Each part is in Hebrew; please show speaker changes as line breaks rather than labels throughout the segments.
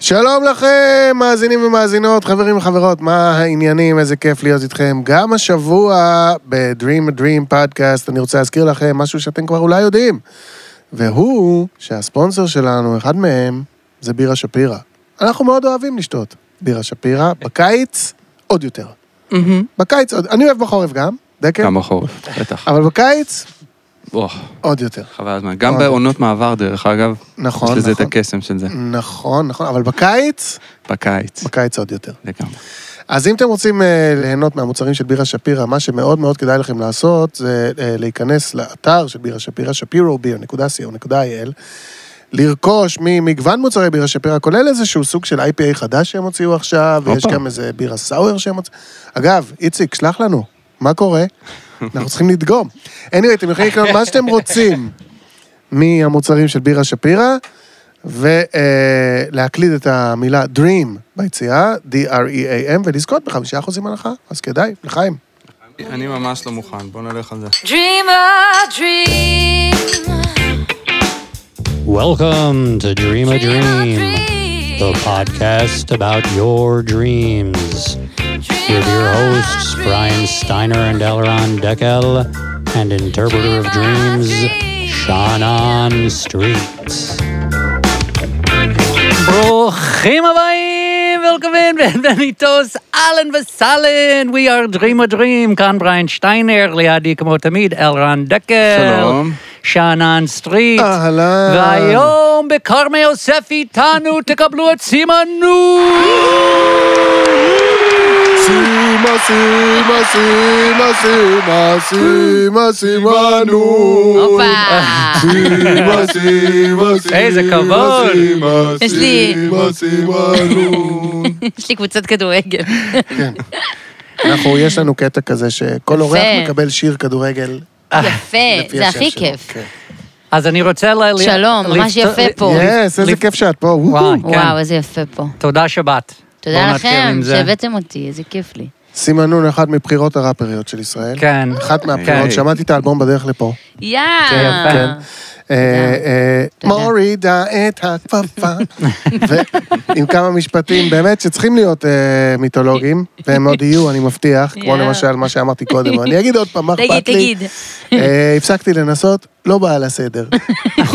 שלום לכם, מאזינים ומאזינות, חברים וחברות, מה העניינים? איזה כיף להיות איתכם. גם השבוע ב-Dream a Dream Podcast, אני רוצה להזכיר לכם משהו שאתם כבר אולי יודעים, והוא שהספונסר שלנו, אחד מהם, זה בירה שפירא. אנחנו מאוד אוהבים לשתות בירה שפירא, בקיץ עוד יותר.
מהמם.
בקיץ עוד, אני אוהב בחורף גם, דקל,
גם בחורף, בטח.
אבל בקיץ
אוח,
עוד יותר.
חבל הזמן. גם
אוי.
בעונות מעבר, דרך אגב,
נכון,
יש לזה את
נכון.
הקסם של זה.
נכון, נכון, אבל בקיץ,
בקיץ,
בקיץ עוד יותר.
לגמרי.
אז אם אתם רוצים אה, ליהנות מהמוצרים של בירה שפירא, מה שמאוד מאוד כדאי לכם לעשות זה אה, להיכנס לאתר של בירה שפירא, שפירו.co.il, לרכוש ממגוון מוצרי בירה שפירא, כולל איזשהו סוג של IPA חדש שהם הוציאו עכשיו, ויש
הופה.
גם איזה בירה סאואר שהם הוציאו. אגב, איציק, שלח לנו, מה קורה? אנחנו צריכים לדגום. anyway, אתם יכולים לקנות מה שאתם רוצים מהמוצרים של בירה שפירא. ולהקליד את המילה Dream ביציאה, D-R-E-A-M, ולזכות בחמישה אחוזים הנחה, אז כדאי, לחיים.
אני ממש לא מוכן, בוא נלך על זה.
Dream a dream.
Welcome to Dream a
Dream a
Dream, the podcast about your dreams.
Dream
With your
a
hosts,
dream.
Brian Steiner and Elron Deckel, and interpreter of dreams, Shannon Streets.
ברוכים הבאים, ולקווין בנבניטוס, אהלן וסהלן, We are Dream a Dream, כאן בריין שטיינר, לידי כמו תמיד, אלרן דקל.
שלום.
שאנן סטריט.
אהלן.
והיום בכרמי יוסף איתנו, תקבלו את סימנו.
סימה, סימה, סימה, סימה, סימה, סימנו.
הופה.
סימה, סימה, סימה,
איזה כבוד.
סימה,
יש לי-
סימה, סימנו.
יש לי קבוצת כדורגל.
כן. אנחנו, יש לנו קטע כזה שכל אורח מקבל שיר כדורגל.
יפה,
אה, לפי
זה
השם
הכי
שלו.
כיף.
כן.
אז אני רוצה ל... ל-
שלום, ממש
לפת-
יפה פה.
יס, איזה
לפ-
כיף שאת פה. וואו.
וואי, כן.
וואו, איזה יפה פה.
תודה שבאת. בואו
תודה
נתחיל
לכם
עם זה.
שהבאתם אותי, איזה כיף לי.
סימה נון, אחת מבחירות הראפריות של ישראל.
כן.
אחת מהבחירות,
כן.
שמעתי את האלבום בדרך לפה.
זה
כן,
יפה.
יאה.
אה, אה,
תודה.
מורידה את הכפפה. ועם כמה משפטים, באמת, שצריכים להיות אה, מיתולוגיים, והם עוד יהיו, אני מבטיח, כמו
יאה.
למשל מה שאמרתי קודם, אבל אני אגיד עוד פעם, מה אכפת לי?
תגיד, תגיד.
אה, הפסקתי לנסות, לא בא על הסדר. ח-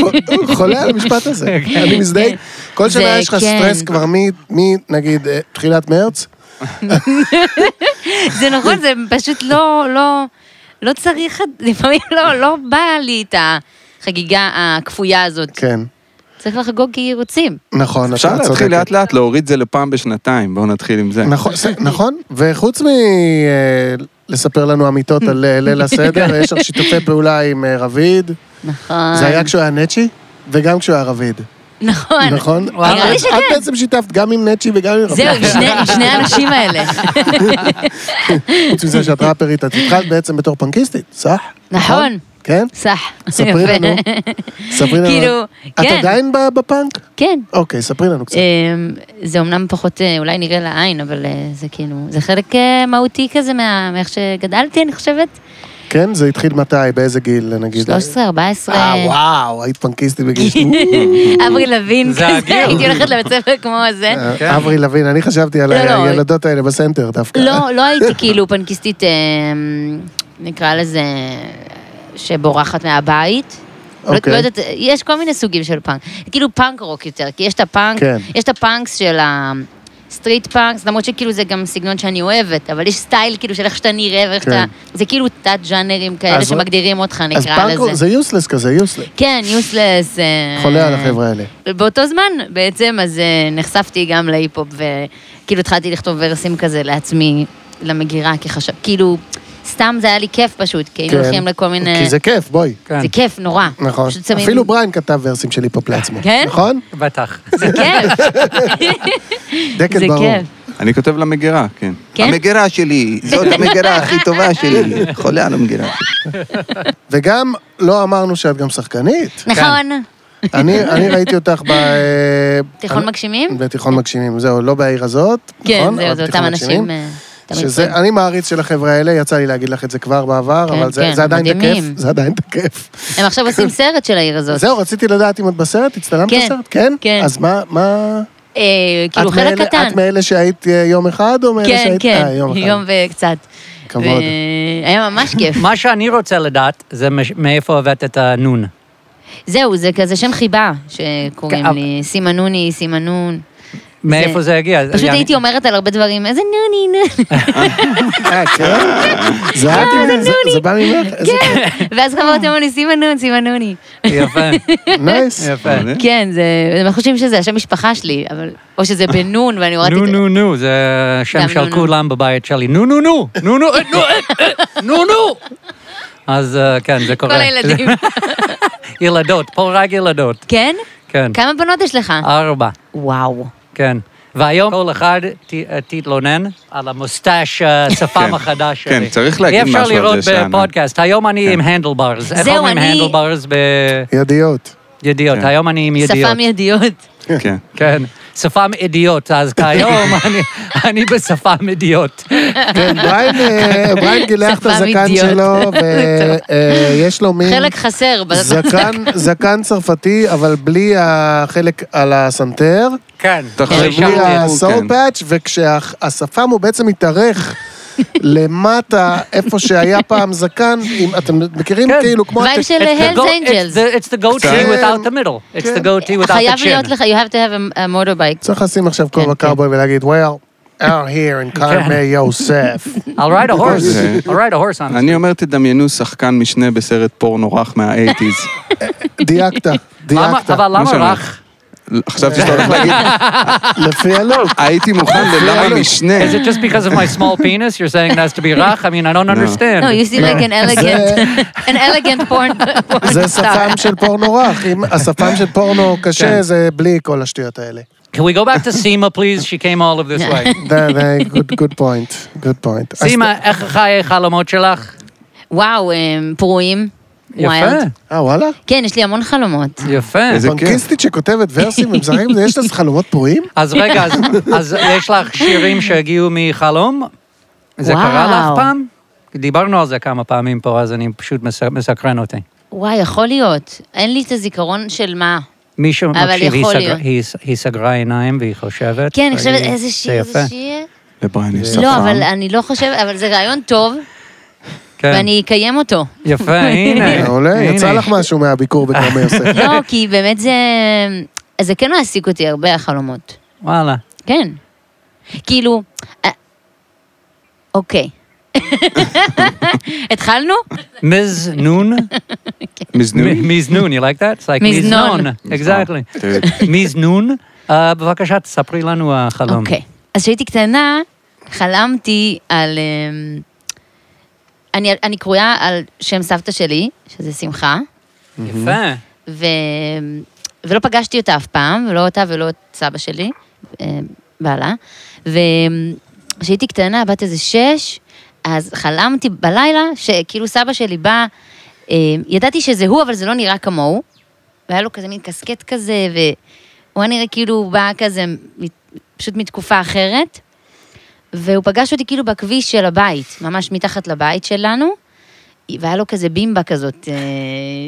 חולה על המשפט הזה, אני מזדהה. כל
אוקיי. כן. זה
שנה יש לך
כן.
סטרס כבר מ- מ- נגיד, אה, תחילת מרץ,
זה נכון, זה פשוט לא, לא, לא צריך, לפעמים לא, לא בא לי את החגיגה הכפויה הזאת.
כן,
צריך לחגוג כי רוצים.
נכון,
אפשר
את
להתחיל
צודקת.
לאט לאט להוריד זה לפעם בשנתיים, בואו נתחיל עם זה.
נכון, זה- נכון, וחוץ מלספר לנו אמיתות על אה, ליל הסדר, יש לך שיתופי פעולה עם אה, רביד,
נכון.
זה היה כשהוא היה נצ'י, וגם כשהוא היה רביד,
נכון.
נכון?
וואלה.
את-
נראה לי
את בעצם שיתפת גם עם נצ'י וגם עם רביד.
זהו, עם שני- עם שני האנשים האלה.
חוץ מזה שאת ראפרית, את התחלת בעצם בתור פנקיסטית, סח?
נכון.
כן?
סח.
ספרי
יפה.
לנו, ספרי לנו.
כאילו,
את
כן.
עדיין ב- בפאנק?
כן.
אוקיי, ספרי לנו קצת.
אמ, זה אומנם פחות, אה, אולי נראה לעין, אבל אה, זה כאילו, זה חלק אה, מהותי כזה מה- מאיך שגדלתי, אני חושבת.
כן, זה התחיל מתי? באיזה גיל, נגיד?
13, 14.
אה, וואו, היית פנקיסטית בגיל
אברי לוין
זה
כזה,
הגיל.
הייתי הולכת לבית ספר כמו זה.
אה, אברי לוין, אני חשבתי על
כן. לא, לא.
הילדות האלה בסנטר דווקא.
לא, לא הייתי כאילו פנקיסטית, אמ, נקרא לזה, שבורחת מהבית. לא-
אוקיי.
לא יודעת, יש כל מיני סוגים של פאנק. כאילו פאנק רוק יותר, כי יש את הפאנק,
כן.
יש את הפאנקס של ה... סטריט פאנקס, למרות שכאילו זה גם סגנון שאני אוהבת, אבל יש סטייל כאילו של איך שאתה נראה ואיך
כן.
אתה... זה כאילו תת-ג'אנרים כאלה
אז-
שמגדירים אותך,
אז
נקרא
פאנק
לזה.
זה יוסלס כזה, יוסלס.
כן, יוסלס. אה,
חולה על החבר'ה האלה.
באותו זמן, בעצם, אז אה, נחשפתי גם להיפ-הופ, וכאילו התחלתי לכתוב ורסים כזה לעצמי, למגירה, כי חשב... כאילו, סתם זה היה לי כיף פשוט, כי היינו
כן.
הולכים לכל מיני...
כי זה כיף, בואי.
כן,
זה כיף, נורא.
נכון.
פשוט שמים-
אפילו בריין כתב ורסים של היפ-הופ לעצמו.
כן?
נכון?
בטח.
זה כיף,
דקל
זה
ברור.
כיף.
אני כותב למגירה, כן.
כן?
המגירה שלי, זאת המגירה הכי טובה שלי. חולה על המגירה.
וגם לא אמרנו שאת גם שחקנית.
נכון.
אני אני ראיתי אותך ב... אה,
תיכון
אני-
מגשימים?
בתיכון מגשימים, זהו, לא בעיר הזאת.
כן,
נכון?
זהו,
אבל
זה
בתיכון
אותם
מגשימים.
אנשים... אה, אותם
שזה,
יוצרים.
אני מעריץ של החבר'ה האלה, יצא לי להגיד לך את זה כבר בעבר,
כן,
אבל זה,
כן,
זה עדיין
מדהימים.
תקף, זה עדיין תקף.
הם עכשיו עושים סרט של העיר הזאת.
זהו, רציתי לדעת אם את בסרט, הצטלמת
כן,
בסרט? כן?
כן.
אז מה, מה...
אה, כאילו
את
חלק
מאלה-
קטן.
את מאלה שהיית אה, יום אחד, או מאלה
כן,
שהיית...
כן,
אה, יום אחד.
יום וקצת. אה,
כבוד.
היה ממש כיף.
מה שאני רוצה לדעת, זה מש- מאיפה הבאת את הנון.
זהו, זה כזה שם חיבה שקוראים
כן,
לי, סימה נוני, סימה נון.
מאיפה זה הגיע?
פשוט
יעני-
הייתי אומרת על הרבה דברים, איזה נוני, נוני.
אה, כן? זה את
אה,
עם זה? זה בא ממך?
כן.
איזה-
כן.
ואז חברות אמרו לי, סימה נון, סימה נוני.
יפה,
נייס.
יפה.
כן, זה, הם חושבים שזה השם משפחה שלי, אבל, או שזה בנון, ואני הורדתי
נו
את זה.
נו נו, זה השם
לא, גם נו,
של
נו.
כולם בבית שלי. נו נו נו, נו נו, אה, נו, אה, אה, נו נו. אז אה, כן,
כל
זה קורה.
הילדים.
ילדות, פה רק ילדות.
כן?
כן.
כמה בנות יש לך?
ארבע,
וואו.
כן. והיום כל אחד ת- אה, תתלונן על המוסטש, השפם
כן.
החדש שלי.
כן, צריך להגיד משהו על זה,
אי אפשר
שאנן. כן.
לראות בפודקאסט. היום אני עם הנדלברס. איך
זהו,
אומרים
אני-
הנדלברס
ידיעות.
בידיעות?
כן.
היום אני עם ידיעות.
שפם ידיעות.
כן.
כן. שפם אידיוט, אז כיום אני- אני בשפם אידיוט.
כן, בריין, אה, בריין גילח את
שפם
הזקן
אידיוט.
שלו, ויש לו מין...
חלק חסר. ב-
זקן, זקן צרפתי, אבל בלי החלק על הסנטר,
כן.
תחשבו-
בלי
כן.
הסור פאץ', וכשהשפם הוא בעצם מתארך למטה, איפה שהיה פעם זקן, אם אתם מכירים
כן.
כאילו כמו...
וייב
הת-
של
It's the
הלס
go-
אנג'לס.
It's the- it's the goatee
קצת.
without the middle. It's the goatee without the
חייב
chin.
להיות לך, you have to have a- a motorbike.
צריך לשים עכשיו כובע
כן.
קאובוי ולהגיד, well, out here in קרמי יוסף.
I'll ride a horse.
זה-
I'll ride a horse on it.
אני אומר, תדמיינו שחקן משנה בסרט פורנו רך מהאייטיז.
דייקת,
למה-
דייקת.
אבל
מה
למה
שאמרת.
רך?
עכשיו שאתה הולך להגיד,
לפי הלוק.
הייתי מוכן ללמה משנה.
Is it just because of my small penis? You're saying it has to be רך? I mean, I don't
No, you
understand.
seem like an elegant, an elegant porn porn
זה
star.
שפם של פורנו רך. אם השפם של פורנו קשה, זה בלי כל השטויות האלה.
Can we go back to Seema, please? She came all of this way.
זה- זה good- good point, good point. אז-
Seema, איך חיי חלומות שלך?
וואו, הם פרועים.
יפה,
Wild.
אה, וואלה?
כן, יש לי המון חלומות.
יפה.
איזה כיף.
פנקיסטית שכותבת ורסים ומזרחים, יש לה חלומות פרועים?
אז רגע, אז- אז יש לך שירים שהגיעו מחלום? זה קרה
וואו.
לך פעם? דיברנו על זה כמה פעמים פה, אז אני פשוט מס- מסקרן אותי.
וואי, יכול להיות. אין לי את הזיכרון של מה.
מישהו
אבל
מקשיב, היא
יכול
סגרה-
להיות.
היא ס- היא סגרה עיניים והיא חושבת.
כן, אני חושבת,
והיא-
איזה שיר,
זה
איזה
יפה.
שיר.
לבריין יש שפם.
לא, אבל אני לא חושבת, אבל זה רעיון טוב,
כן.
ואני אקיים אותו.
יפה, הנה.
מעולה,
הנה.
יצא לך משהו מהביקור בכרמי יוסף.
לא, כי באמת זה... זה כן מעסיק אותי הרבה, החלומות.
וואלה.
כן. כאילו... אה, אוקיי. התחלנו?
מזנון?
מזנון?
מזנון, you like that? It's like
מזנון.
מזנון. Exactly. מזנון. אה, בבקשה, תספרי לנו החלום.
אוקיי. אז כשהייתי קטנה, חלמתי על... אמ, אני, אני קרויה על שם סבתא שלי, שזה שמחה,
יפה.
ו, ולא פגשתי אותה אף פעם, ולא אותה ולא את סבא שלי, אמ, בעלה. וכשהייתי קטנה, בת איזה שש, אז חלמתי בלילה שכאילו סבא שלי בא, אמ, ידעתי שזה הוא, אבל זה לא נראה כמוהו. והיה לו כזה מין קסקט כזה, והוא היה נראה כאילו הוא בא כזה מת- פשוט מתקופה אחרת. והוא פגש אותי כאילו בכביש של הבית, ממש מתחת לבית שלנו, והיה לו כזה בימבה כזאת אה,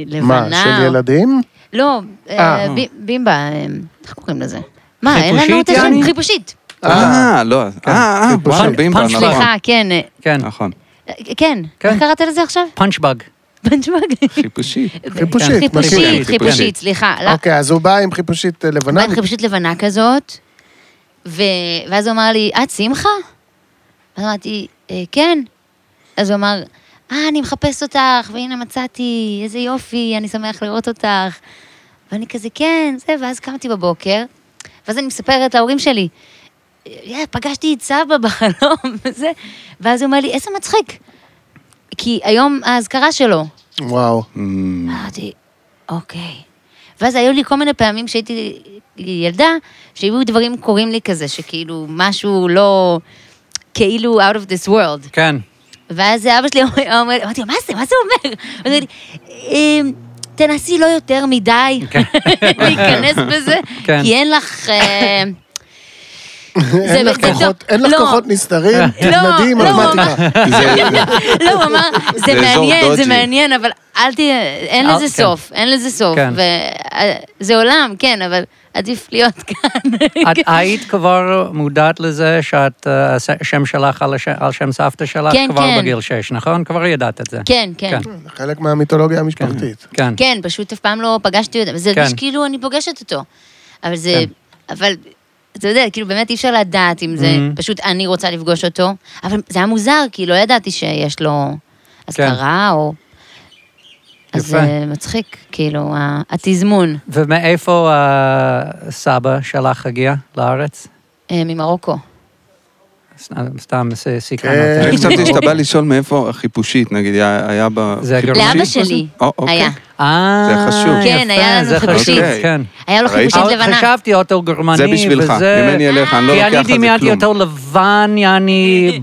לבנה.
מה, של ילדים?
לא, אה, ב- בימבה, אה, איך קוראים לזה? מה, אין לנו
חיפושית,
את השם?
יעני?
חיפושית.
אה, לא. אה, אה, וואו,
פאנץ'
בימבה,
פאנץ'
נכון.
סליחה, כן. אה,
כן.
נכון.
אה, כן,
כן.
איך קראת לזה עכשיו?
פאנצ'באג.
פנצ'באג?
חיפושי.
חיפושית, מכירים.
חיפושית, חיפושית,
חיפושית.
סליחה. לא,
אוקיי, אז הוא בא עם חיפושית אה, לבנה.
בן חיפושית לבנה כזאת, ו... ואז הוא אמר לי, את שמחה? אז אמרתי, "אה, כן. אז הוא אמר, אה, אני מחפש אותך, והנה מצאתי, איזה יופי, אני שמח לראות אותך. ואני כזה, כן, זה, ואז קמתי בבוקר, ואז אני מספרת להורים שלי, "אה, פגשתי את סבא בחלום, וזה, ואז הוא אומר לי, איזה מצחיק. כי היום האזכרה שלו,
וואו.
אמרתי, אוקיי. ואז היו לי כל מיני פעמים שהייתי ילדה, שהיו דברים קורים לי כזה, שכאילו משהו לא... כאילו out of this world.
כן.
ואז אבא שלי אומר, אומר- אמרתי לו, מה זה? מה זה אומר? הוא אומר לי, "אמ, תנסי לא יותר מדי
כן.
להיכנס בזה,
כן.
כי אין לך... אה,
אין
זה-
לך
זה-
כוחות- אין לך
לא.
כוחות נסתרים? תלמדי
לא, הוא
מתמטיקה.
אה,
לא, הוא אמר, זה
אזור
מעניין, זה
דודג'י."
מעניין, אבל אל תהיה, אין
אל-
לזה
כן.
סוף, אין לזה סוף.
כן.
ו- אה, זה עולם, כן, אבל עדיף להיות כאן.
את היית כבר מודעת לזה שאת, אה, הש- השם שלך על הש- על שם סבתא שלך
כן,
כבר
כן.
בגיל שש, נכון? כבר ידעת את זה.
כן, כן.
זה חלק מהמיתולוגיה המשפחתית.
כן.
כן, פשוט אף פעם לא פגשתי אותו, וזה הרגיש
כן.
כאילו אני פוגשת אותו. אבל זה, אבל, אתה יודע, כאילו באמת אי אפשר לדעת אם זה,
Mhm.
פשוט אני רוצה לפגוש אותו, אבל זה היה מוזר, כי לא ידעתי שיש לו אזכרה או... אז
כן. יפה.
זה מצחיק, כאילו, ה- התזמון
ומאיפה הסבא שלך הגיע לארץ?
אה, ממרוקו.
סתם- סתם ס- סקרן
כן.
אותי.
אני חשבתי שאתה בא לשאול מאיפה החיפושית, נגיד, היה היה בה...
אה, זה
חיפושית
הגרמנית?
לאבא
משהו?
שלי
או, אוקיי.
היה.
אה,
זה חשוב.
כן,
יפה,
היה לנו
זה חשוב,
חיפושית.
כן.
היה לו
ראיתי.
חיפושית
אבל
לבנה.
חשבתי אותו גרמני,
זה בשבילך,
וזה-
ממני אליך, אני לא
כי
לוקח
אני
על זה
דמיינתי
כלום.
אותו לבן, יעני,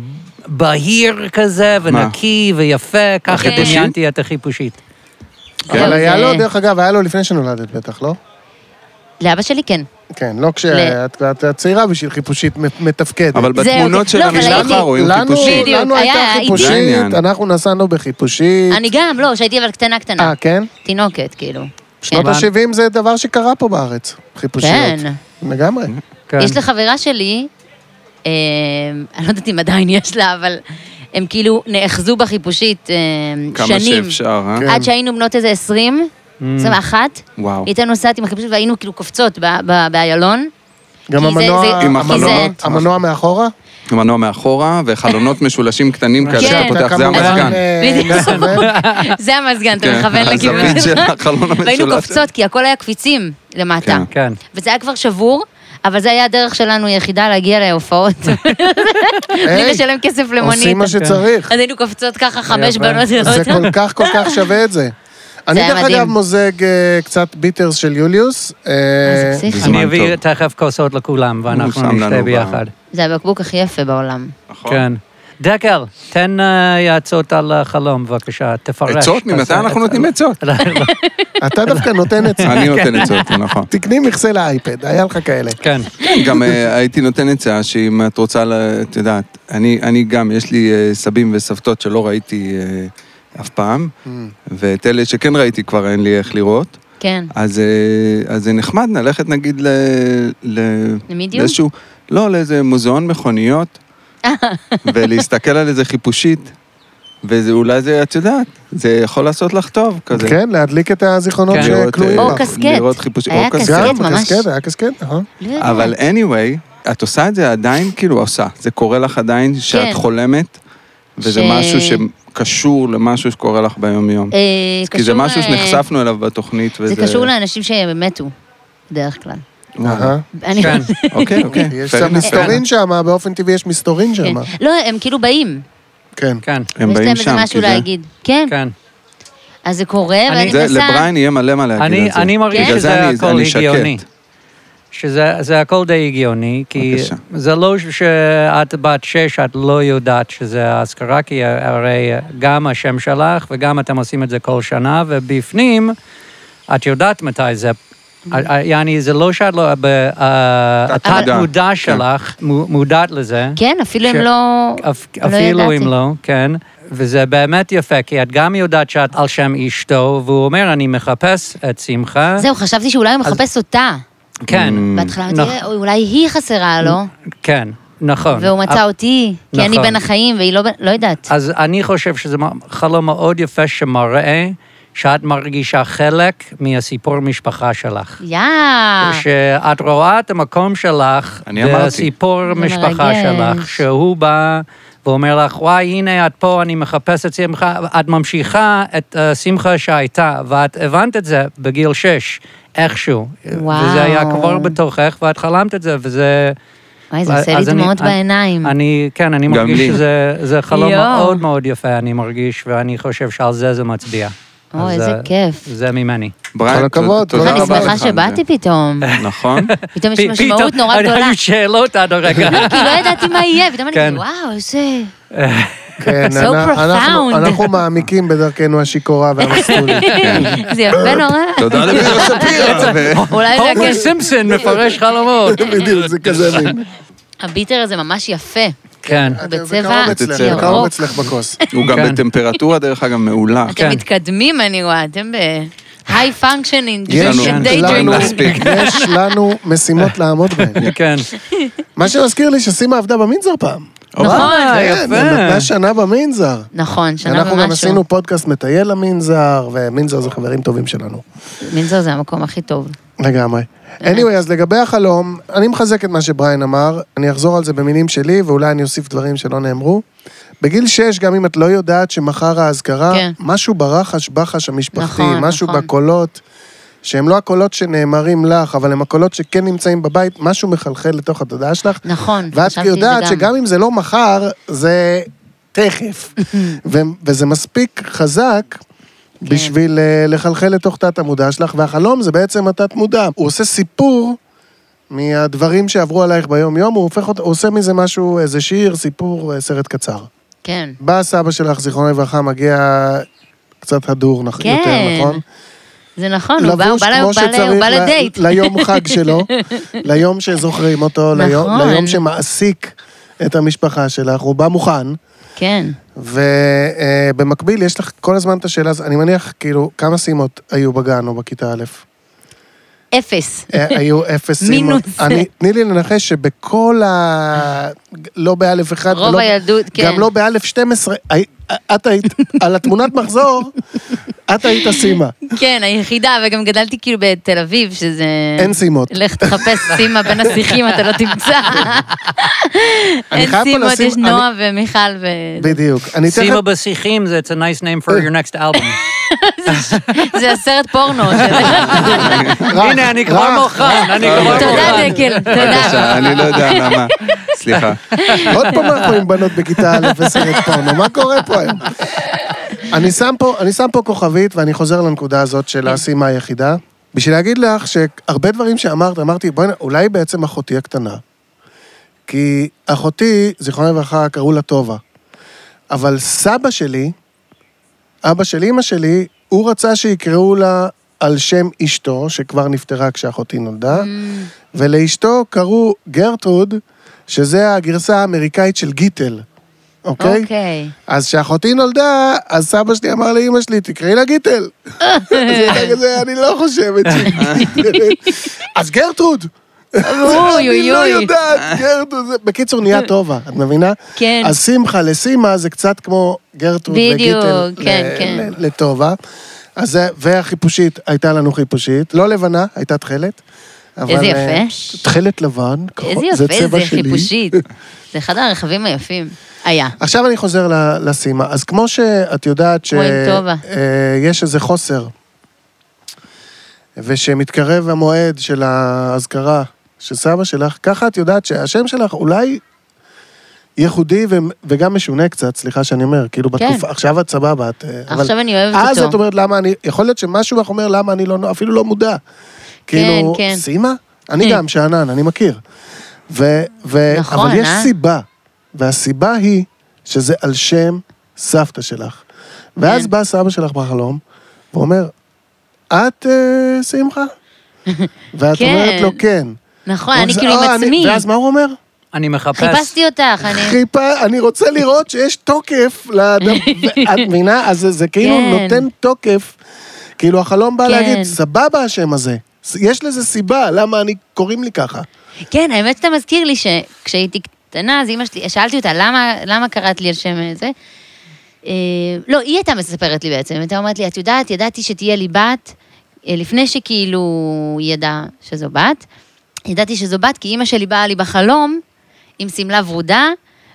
בהיר כזה, ונקי ויפה, ככה
החיפושית?
דמיינתי את החיפושית.
כן.
זהו,
אבל היה
זה-
לו, דרך אגב, היה לו לפני שנולדת בטח, לא?
לאבא שלי כן.
כן, לא כשאת את צעירה בשביל חיפושית מ- מתפקדת.
אבל
זהו,
בתמונות
זה-
של
לא, אבל
המשפחה
הייתי-
רואים
לנו-
חיפושית.
בדיוק,
לנו
היה-
הייתה
זה
הייתי-
חיפושית,
העניין.
אנחנו נסענו
אה,
בחיפושית.
אני גם, לא, כשהייתי אבל קטנה קטנה.
אה, כן?
תינוקת, כאילו.
שנות
כן.
ה-70 זה דבר שקרה פה בארץ, חיפושיות.
כן.
לגמרי.
כן.
יש לחברה שלי, אה, אני לא יודעת אם עדיין יש לה, אבל הם כאילו נאחזו בחיפושית אה,
כמה
שנים.
שאפשר, אה?
כן.
עד שהיינו בנות איזה 20, 21,
וואו.
הייתה נוסעת עם החיפושית והיינו כאילו קופצות ב- ב- באיילון.
גם
זה-
המנוע,
זה-
עם
המנוע-
החלונות.
המנוע מאחורה?
מנוע מאחורה, וחלונות משולשים קטנים כאלה
כן.
שאתה פותח, זה
אתה כמובן,
המזגן.
אה,
בדיוק.
מסובב.
זה המזגן, אתה
נכון. כן,
מכוון לכיוון
הזווית של החלון המשולש.
והיינו קופצות, כי הכל היה קפיצים למטה.
כן.
כן.
וזה היה כבר שבור, אבל זה היה הדרך שלנו היחידה להגיע להופעות. בלי
היי,
לשלם כסף למונית.
עושים מה שצריך.
אז היינו קופצות ככה חמש
יפה.
בנות
זה
לאוטו.
כל כך כל כך שווה את זה. אני
היה
דרך
מדהים.
אגב מוזג אה, קצת ביטרס של יוליוס. אה,
איזה פסיכי.
זמן
אני אביא
טוב.
תכף כוסות לכולם,
הוא
ואנחנו
שם לנו
נשתה
ב-
ביחד.
זה הבקבוק הכי יפה בעולם.
נכון.
כן. דקל, תן אה, עצות על החלום, בבקשה, תפרש.
עצות? ממתי
תעשה-
אנחנו נותנים עצות?
לא, לא,
אתה דווקא נותן עצה.
אני נותן עצות, נכון.
תקני מכסה לאייפד, היה לך כאלה.
כן.
גם אה, הייתי נותן עצה שאם את רוצה, ל- את יודעת, אני אני גם, יש לי אה, סבים וסבתות שלא ראיתי אה, אף פעם, ואת אלה שכן ראיתי כבר אין לי איך לראות.
כן.
אז, אה, אז זה נחמד ללכת נגיד ל... ל...
למדיום?
לאיזשהו... לא, לאיזה מוזיאון מכוניות, ולהסתכל על איזה חיפושית, ואולי זה, את יודעת, זה יכול לעשות לך טוב כזה.
כן, להדליק את הזיכרונות
כן.
לראות,
שכלואים.
אה,
או
בה.
כס- קסקט.
לראות חיפושית.
היה
או קסקט.
קסקט.
גם,
ממש.
קסקט, היה קסקט, נכון.
לא יודעת.
אבל anyway, את עושה את זה עדיין, כאילו, עושה. זה קורה לך עדיין
כן.
שאת חולמת, וזה
ש-
משהו שקשור למשהו שקורה לך ביום-יום.
אה,
כי זה
קשור,
משהו
אה,
שנחשפנו אליו בתוכנית, וזה...
זה קשור לאנשים שמתו, בדרך כלל.
וואלה.
אני-
כן.
אוקיי, נכון. אוקיי.
יש
fair
שם
enough.
מסתורין שם, באופן טבעי יש מסתורין
כן.
שם.
לא, הם כאילו באים.
כן.
כן,
הם
יש להם
באים
איזה
שם, כי
משהו
זה-
להגיד. כן,
כן.
אז זה קורה,
אני-
ואני
זה,
מנסה...
לבריין יהיה מלא מה להגיד
אני,
על זה.
אני מרגיש
כן?
בגלל
שזה
אני-
הכל
אני שקט.
הגיוני. שזה זה הכל די הגיוני, כי
בבקשה.
זה לא שאת בת שש, את לא יודעת שזה האזכרה, כי הרי גם השם שלך וגם אתם עושים את זה כל שנה, ובפנים את יודעת מתי זה.
Mm-hmm.
יעני, זה לא שאת לא... ב- אה,
תת-מודע.
התת
כן.
מודע שלך מו- מודעת לזה.
כן, אפילו הם
ש-
לא...
אפ-
לא
אפילו אם
ידעתי.
לא, כן. וזה באמת יפה, כי את גם יודעת שאת על שם אשתו, והוא אומר, אני מחפש את שמחה.
זהו, חשבתי שאולי הוא מחפש אותה.
Mm.
כן,
אמ,
בהתחלה
נכ-
אמרתי, "אוי, אולי היא חסרה לו,
כן, נכון.
והוא מצא אותי, כי אני
נכון.
בין החיים, והיא לא בין... לא יודעת.
אז אני חושב שזה מ- חלום מאוד יפה שמראה שאת מרגישה חלק מהסיפור משפחה שלך.
יאה.
שאת רואה את המקום שלך,
אני אמרתי.
בסיפור
זה
משפחה
מרגש.
שלך, שהוא בא ואומר לך, וואי, הנה את פה, אני מחפש את שמחה, את ממשיכה את אה, שמחה שהייתה, ואת הבנת את זה בגיל שש, איכשהו.
וואו.
וזה היה כבר בתוכך, ואת חלמת את זה, וזה...
וואי, זה עושה לי
אה, אז אני-
דמעות
אני-
בעיניים.
אני, כן, אני
גם
מרגיש
לי.
שזה זה חלום
יואו.
מאוד מאוד יפה, אני מרגיש, ואני חושב שעל זה זה מצביע.
אוי,
אז,
איזה
אה,
כיף.
זה ממני.
בריין,
כל הכבוד,
תודה
כל
רבה
אני
הכבוד.
לא לך
שמחה
על זה.
שבאתי פתאום.
נכון.
פתאום יש
פ-
משמעות נורא
היו
גדולה.
שאלות עד הרגע.
כי לא ידעתי מה יהיה, פתאום אני
כן.
כאילו, וואו, איזה...
כן,
So
אנ- אנחנו-
profound.
אנחנו מעמיקים בדרכנו השיכורה והמסלולית.
זה יפה נורא.
תודה לביר שפירא. ו-
אולי זה
הומר
הקשר.
סימפסון מפרש חלומות.
בדיוק, זה כזה מין.
הביטר הזה ממש יפה.
כן.
הוא בצבע
בקרוב אצלך,
ירוק.
בקרוב אצלך בכוס.
הוא גם
כן.
בטמפרטורה, דרך אגב, מעולה.
אתם
כן.
מתקדמים, אני רואה, אתם ב... היי פונקשנינג,
יש
לנו-
דיי
לנו-
דרימינג.
מספיק.
יש לנו משימות לעמוד בהן.
כן.
מה שמזכיר לי שסימה עבדה במנזר פעם.
נכון.
אה,
כן,
יפה.
היא נתנה שנה במנזר.
נכון, שנה
אנחנו גם
ומשהו.
עשינו פודקאסט מטייל למנזר, ומנזר זה חברים טובים שלנו.
מנזר זה המקום הכי טוב.
לגמרי. anyway, אז לגבי החלום, אני מחזק את מה שבריין אמר, אני אחזור על זה במילים שלי, ואולי אני אוסיף דברים שלא נאמרו. בגיל שש, גם אם את לא יודעת שמחר האזכרה,
כן.
משהו ברחש-בחש המשפחתי,
נכון,
משהו
נכון.
בקולות, שהם לא הקולות שנאמרים לך, אבל הם הקולות שכן נמצאים בבית, משהו מחלחל לתוך התודעה שלך.
נכון,
ואת
חשבתי על זה
יודעת
גם.
שגם אם זה לא מחר, זה תכף. ו- וזה מספיק חזק
כן.
בשביל אה, לחלחל לתוך תת-המודע שלך, והחלום זה בעצם התת-מודע. הוא עושה סיפור מהדברים שעברו עלייך ביום-יום, הוא הופך אותו, הוא עושה מזה משהו, איזה שיר, סיפור, אה, סרט קצר.
כן.
בא סבא שלך, זיכרונו לברכה, מגיע קצת הדור נכ-
כן.
יותר, נכון?
זה נכון, הוא בא- הוא
לבוש
בא ל-
כמו
הוא בא ל- הוא
שצריך
בא
ל-
לדייט.
ליום חג שלו, ליום שזוכרים אותו, ליום-
נכון.
ליום שמעסיק את המשפחה שלך, הוא בא מוכן,
כן.
ובמקביל יש לך כל הזמן את השאלה, הזאת, אני מניח, כאילו, כמה סימות היו בגן או בכיתה א'?
אפס.
אה, היו אפס סימות.
מינוס.
אני- תני לי לנחש שבכל ה... לא באלף אחד,
רוב
ולא-
הילדות, כן.
גם לא באלף 12, הי- את היית, על התמונת מחזור, את היית סימה.
כן, היחידה, וגם גדלתי כאילו בתל אביב, שזה...
אין סימות.
לך תחפש סימה בין השיחים, אתה לא תמצא.
אני
אין
חייב פה
סימות,
לשים-
יש
אני-
נועה ומיכל ו...
בדיוק. אני תכף...
סימה בשיחים, זה- it's a nice name for your next album.
זה הסרט פורנו. אה,
אוקיי. רך,
הנה, אני כבר
רך.
מוכן, אני לא כבר
תודה,
מוכן.
דקל, תודה.
בבקשה, אני לא יודע למה. סליחה.
עוד פעם אנחנו עם בנות בכיתה א' וסרט פורנו, מה קורה פה היום? אני שם פה, אני שם פה כוכבית, ואני חוזר לנקודה הזאת של הסימה היחידה, בשביל להגיד לך שהרבה דברים שאמרת, אמרתי, בואי, נ- אולי בעצם אחותי הקטנה. כי אחותי, זיכרונה לברכה, קראו לה טובה. אבל סבא שלי, אבא של אימא שלי, הוא רצה שיקראו לה על שם אשתו, שכבר נפטרה כשאחותי נולדה, ולאשתו קראו גרטרוד, שזה הגרסה האמריקאית של גיטל, אוקיי?
אוקיי.
אז כשאחותי נולדה, אז סבא שלי אמר לאימא שלי, תקראי לה גיטל. אז היא הייתה כזה, אני לא חושבת ש... אז גרטרוד!
אוי,
אני
אוי,
לא
אוי.
יודעת, גרטרוד זה... בקיצור, נהיה טובה, את מבינה?
כן.
אז שמחה לסימה זה קצת כמו גרטרוד
בדיוק,
וגיטל.
כן,
ל-
כן.
ל- לטובה. אז זה, והחיפושית, הייתה לנו חיפושית, לא לבנה, הייתה תכלת. אבל,
איזה
אה,
יפה.
תכלת לבן, כחול,
איזה
זה
יפה
צבע
זה,
שלי.
חיפושית. זה אחד הרכבים היפים. היה.
עכשיו אני חוזר ל- לסימה. אז כמו שאת יודעת ש-
רואים טובה.
אה, יש איזה חוסר, ושמתקרב המועד של האזכרה של סבא שלך, ככה את יודעת שהשם שלך אולי ייחודי ו- וגם משונה קצת, סליחה שאני אומר, כאילו
כן.
בתקופה, עכשיו את סבבה, את... אה, אבל-
עכשיו אני אוהבת
אז
אותו.
את אומרת למה אני, יכול להיות שמשהו בך אומר למה אני לא, אפילו לא מודע. כאילו,
כן.
סימה? אני גם שאנן, אני מכיר. ו, ו,
נכון,
אבל יש
אה?
סיבה, והסיבה היא שזה על שם סבתא שלך. ואז בא סבא שלך בחלום, ואומר, את אה, שמחה? ואת
כן.
אומרת לו כן.
נכון,
הוא
אני
עושה,
כאילו כן.
"אה,
עם
אני-"
עצמי.
ואז מה הוא אומר?
אני מחפש.
חיפשתי אותך, אני...
חיפה, אני רוצה לראות שיש תוקף לאדם, את מבינה? אז זה- זה כאילו
כן.
נותן תוקף. כאילו החלום בא
כן.
להגיד, סבבה השם הזה. ס- יש לזה סיבה, למה אני, קוראים לי ככה.
כן, האמת שאתה מזכיר לי שכשהייתי קטנה, אז אימא שלי, שאלתי אותה, למה, למה קראת לי על שם אה, זה? אה, לא, היא הייתה מספרת לי בעצם, הייתה אומרת לי, את יודעת, ידעתי שתהיה לי בת, אה, לפני שכאילו היא ידעה שזו בת, ידעתי שזו בת, כי אימא שלי באה לי בחלום עם שמלה ורודה,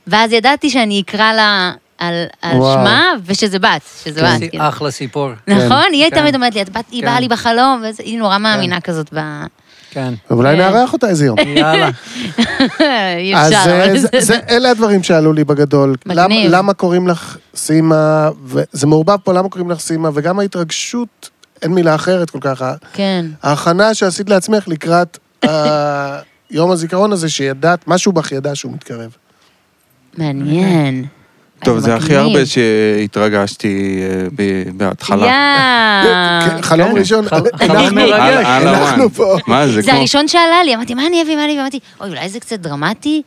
ואז ידעתי שאני אקרא לה על, על
וואו.
שמה, ושזה בת, שזו בת.
זה
כאילו.
אחלה סיפור.
נכון? היא הייתה
כן.
תמיד אומרת לי, את בת, היא
כן.
באה לי בחלום, וזה- היא נורא מאמינה כזאת ב...
כן.
ואולי
כן.
נארח אותה איזה יום.
יאללה.
אי
אז
אפשר,
אה,
אבל
זה-
זה...
זה- אלה הדברים שעלו לי בגדול.
מגניב.
למה- למה קוראים לך סימה, ו- זה מעורבב פה, למה קוראים לך סימה, וגם ההתרגשות, אין מילה אחרת כל כך, ה-
כן.
ההכנה שעשית לעצמך לקראת ה- יום הזיכרון הזה, שידעת, משהו בך ידע שהוא מתקרב.
מעניין.
טוב,
אז
זה הכי
מגניב.
הרבה שהתרגשתי אה, ב- בהתחלה.
יאה.
כן, חלום ראשון,
חל-
אנחנו-
חלום
על-
מרגש.
על הוואן.
אנחנו פה.
מה, כן, זה
זה
כמו...
הראשון שעלה לי, אמרתי, מה אני אביא, מה אני אביא? אמרתי, אוי, אולי זה קצת דרמטי?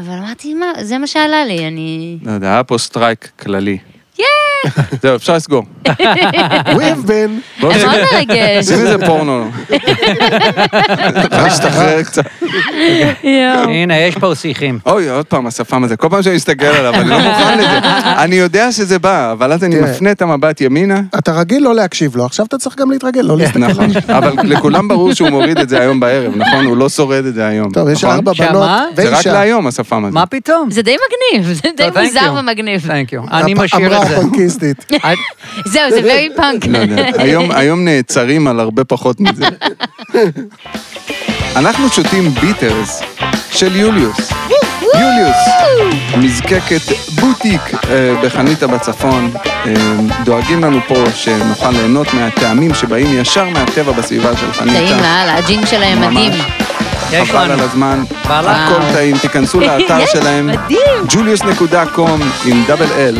אבל אמרתי, מה, זה מה שעלה לי, אני...
לא יודע, היה פה סטרייק כללי. זהו, אפשר לסגור.
We've been.
בואו
זה
נ-
מאוד מרגש.
שים איזה פורנו. להשתחרר קצת.
יואו.
הנה, יש פה שיחים.
אוי, עוד פעם, השפם הזה. כל פעם שאני מסתכל עליו, אני לא מוכן לזה. אני יודע שזה בא, אבל אז אני
תראה.
מפנה את המבט ימינה.
אתה רגיל לא להקשיב לו, עכשיו אתה צריך גם להתרגל, לא להסתכל.
נכון, אבל לכולם ברור שהוא מוריד את זה היום בערב, נכון? הוא לא שורד את זה היום.
טוב, יש
נכון?
ארבע
שמה?
בנות
זה רק
ואישה.
להיום, השפם הזה.
מה פתאום?
זה די מגניב, זה די
טוב, thank
מוזר
you.
ומגניב.
Thank you. אני
הפ-
משאיר את
אמרה
זה.
הפונקיסטית.
זהו, זה very punk.
לא יודע. היום- היום נעצרים על הרבה פחות מזה. אנחנו שותים ביטרס של יוליוס. יוליוס, מזקקת בוטיק אה, בחניתה בצפון. אה, דואגים לנו פה שנוכל ליהנות מהטעמים שבאים ישר מהטבע בסביבה של חניתה.
טעים אה, לאללה, הג'ינג שלהם
ממש.
מדהים.
יש
חבל
לנו.
על הזמן,
וואלה.
הכל
וואו.
טעים, תיכנסו לאתר
יש,
שלהם,
מדהים.
julius.com עם דאבל אל,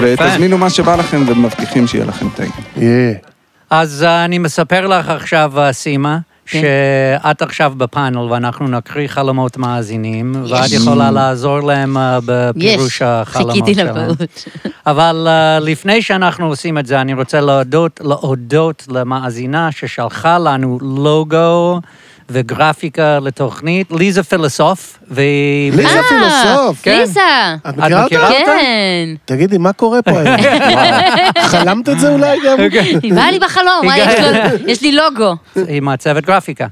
ותזמינו מה שבא לכם ומבטיחים שיהיה לכם טעים.
יהיה.
אז אה, אני מספר לך עכשיו, אה, סימה,
כן.
שאת עכשיו בפאנל ואנחנו נקריא חלומות מאזינים, ואת יכולה לעזור להם אה,
יש,
בפירוש החלומות
חיכיתי
שלהם.
לבאות.
אבל אה, לפני שאנחנו עושים את זה, אני רוצה להודות, להודות למאזינה ששלחה לנו לוגו וגרפיקה לתוכנית, ליזה פילוסוף, והיא...
ליזה
אה,
פילוסוף.
כן.
ליסה.
את מכירה
מכירה?
אותה?
אותה?
כן.
תגידי, מה קורה פה היום? חלמת את זה אולי גם?
אוקיי.
היא באה לי בחלום, וואי, יש לו- יש לי לוגו.
היא מעצבת גרפיקה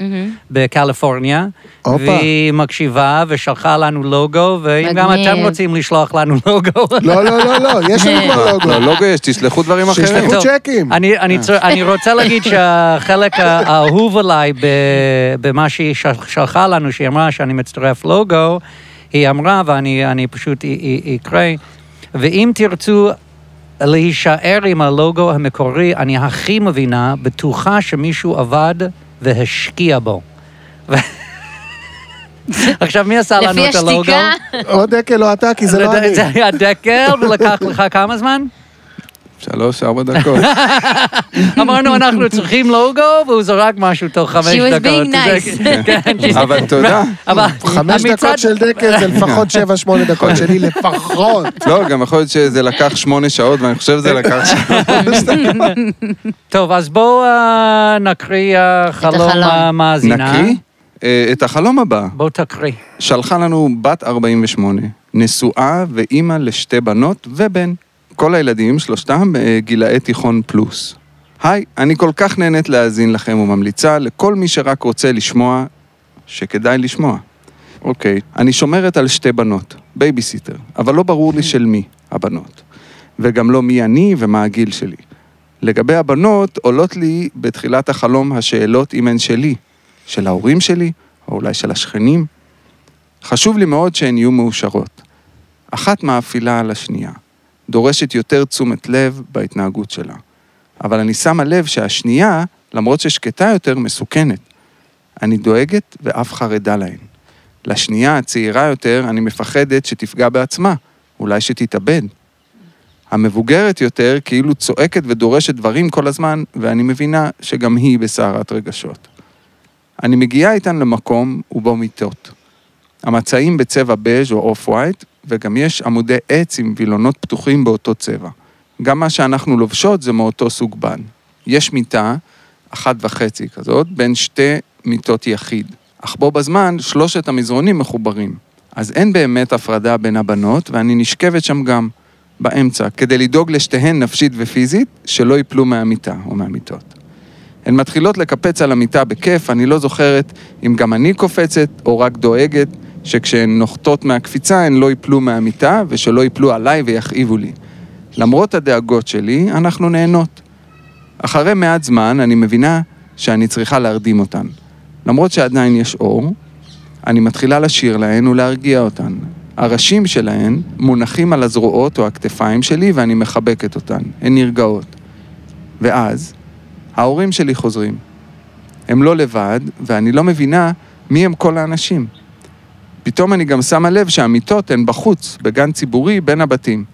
בקליפורניה.
Mm-hmm. הופה.
והיא מקשיבה ושלחה לנו לוגו, ואם גם
מגניב.
אתם רוצים לשלוח לנו לוגו...
לא, לא, לא, לא, יש
אה.
לנו כבר לוגו.
לא, לוגו יש, תשלחו דברים אחרים.
שישלחו.
טוב,
צ'קים. אה.
אני- אני צר- אני רוצה להגיד שהחלק האהוב עליי ב- במה שהיא של- שלחה לנו, שהיא אמרה שאני מצטרף לוגו, היא אמרה, ואני אני פשוט א- א- אקרא, ואם תרצו להישאר עם הלוגו המקורי, אני הכי מבינה, בטוחה שמישהו עבד והשקיע בו. ו- עכשיו, מי עשה לנו
לפי
את הלוגו?
השתיקה.
או דקל או אתה, כי זה לא
לא יודע,
אני.
זה היה דקל, ולקח לך כמה זמן?
שלוש, ארבע דקות.
אמרנו, אנחנו צריכים לוגו, והוא זרק משהו תוך חמש
She was
דקות.
being
זה-
nice.
כן, she-
אבל תודה.
אבל
חמש
המצעד-
דקות של דקל זה לפחות שבע, שמונה דקות שלי לפחות.
לא, גם יכול להיות שזה לקח שמונה שעות, ואני חושב שזה לקח שלוש דקות.
טוב, אז בואו אה, נקריא אה, חלום
החלום.
המאזינה.
נקריא אה, את החלום הבא.
בואו תקריא.
שלחה לנו בת 48, נשואה ואימא לשתי בנות ובן. כל הילדים, שלושתם אה, גילאי תיכון פלוס. היי, אני כל כך נהנית להאזין לכם וממליצה לכל מי שרק רוצה לשמוע, שכדאי לשמוע. אוקיי, אני שומרת על שתי בנות, בייביסיטר, אבל לא ברור לי של מי הבנות, וגם לא מי אני ומה הגיל שלי. לגבי הבנות, עולות לי בתחילת החלום השאלות אם הן שלי, של ההורים שלי, או אולי של השכנים. חשוב לי מאוד שהן יהיו מאושרות. אחת מאפילה על השנייה, דורשת יותר תשומת לב בהתנהגות שלה. אבל אני שמה לב שהשנייה, למרות ששקטה יותר, מסוכנת. אני דואגת ואף חרדה להן. לשנייה הצעירה יותר, אני מפחדת שתפגע בעצמה, אולי שתתאבד. המבוגרת יותר כאילו צועקת ודורשת דברים כל הזמן, ואני מבינה שגם היא בסערת רגשות. אני מגיעה איתן למקום ובו מיטות. המצעים בצבע בז' או אוף ווייט, וגם יש עמודי עץ עם וילונות פתוחים באותו צבע. גם מה שאנחנו לובשות זה מאותו סוג בד. יש מיטה, אחת וחצי כזאת, בין שתי מיטות יחיד. אך בו בזמן, שלושת המזרונים מחוברים. אז אין באמת הפרדה בין הבנות, ואני נשכבת שם גם, באמצע, כדי לדאוג לשתיהן נפשית ופיזית, שלא ייפלו מהמיטה או מהמיטות. הן מתחילות לקפץ על המיטה בכיף, אני לא זוכרת אם גם אני קופצת או רק דואגת שכשהן נוחתות מהקפיצה הן לא ייפלו מהמיטה ושלא ייפלו עליי ויכאיבו לי. למרות הדאגות שלי, אנחנו נהנות. אחרי מעט זמן אני מבינה שאני צריכה להרדים אותן. למרות שעדיין יש אור, אני מתחילה לשיר להן ולהרגיע אותן. הראשים שלהן מונחים על הזרועות או הכתפיים שלי ואני מחבקת אותן. הן נרגעות. ואז, ההורים שלי חוזרים. הם לא לבד, ואני לא מבינה מי הם כל האנשים. פתאום אני גם שמה לב שהמיטות הן בחוץ, בגן ציבורי, בין הבתים.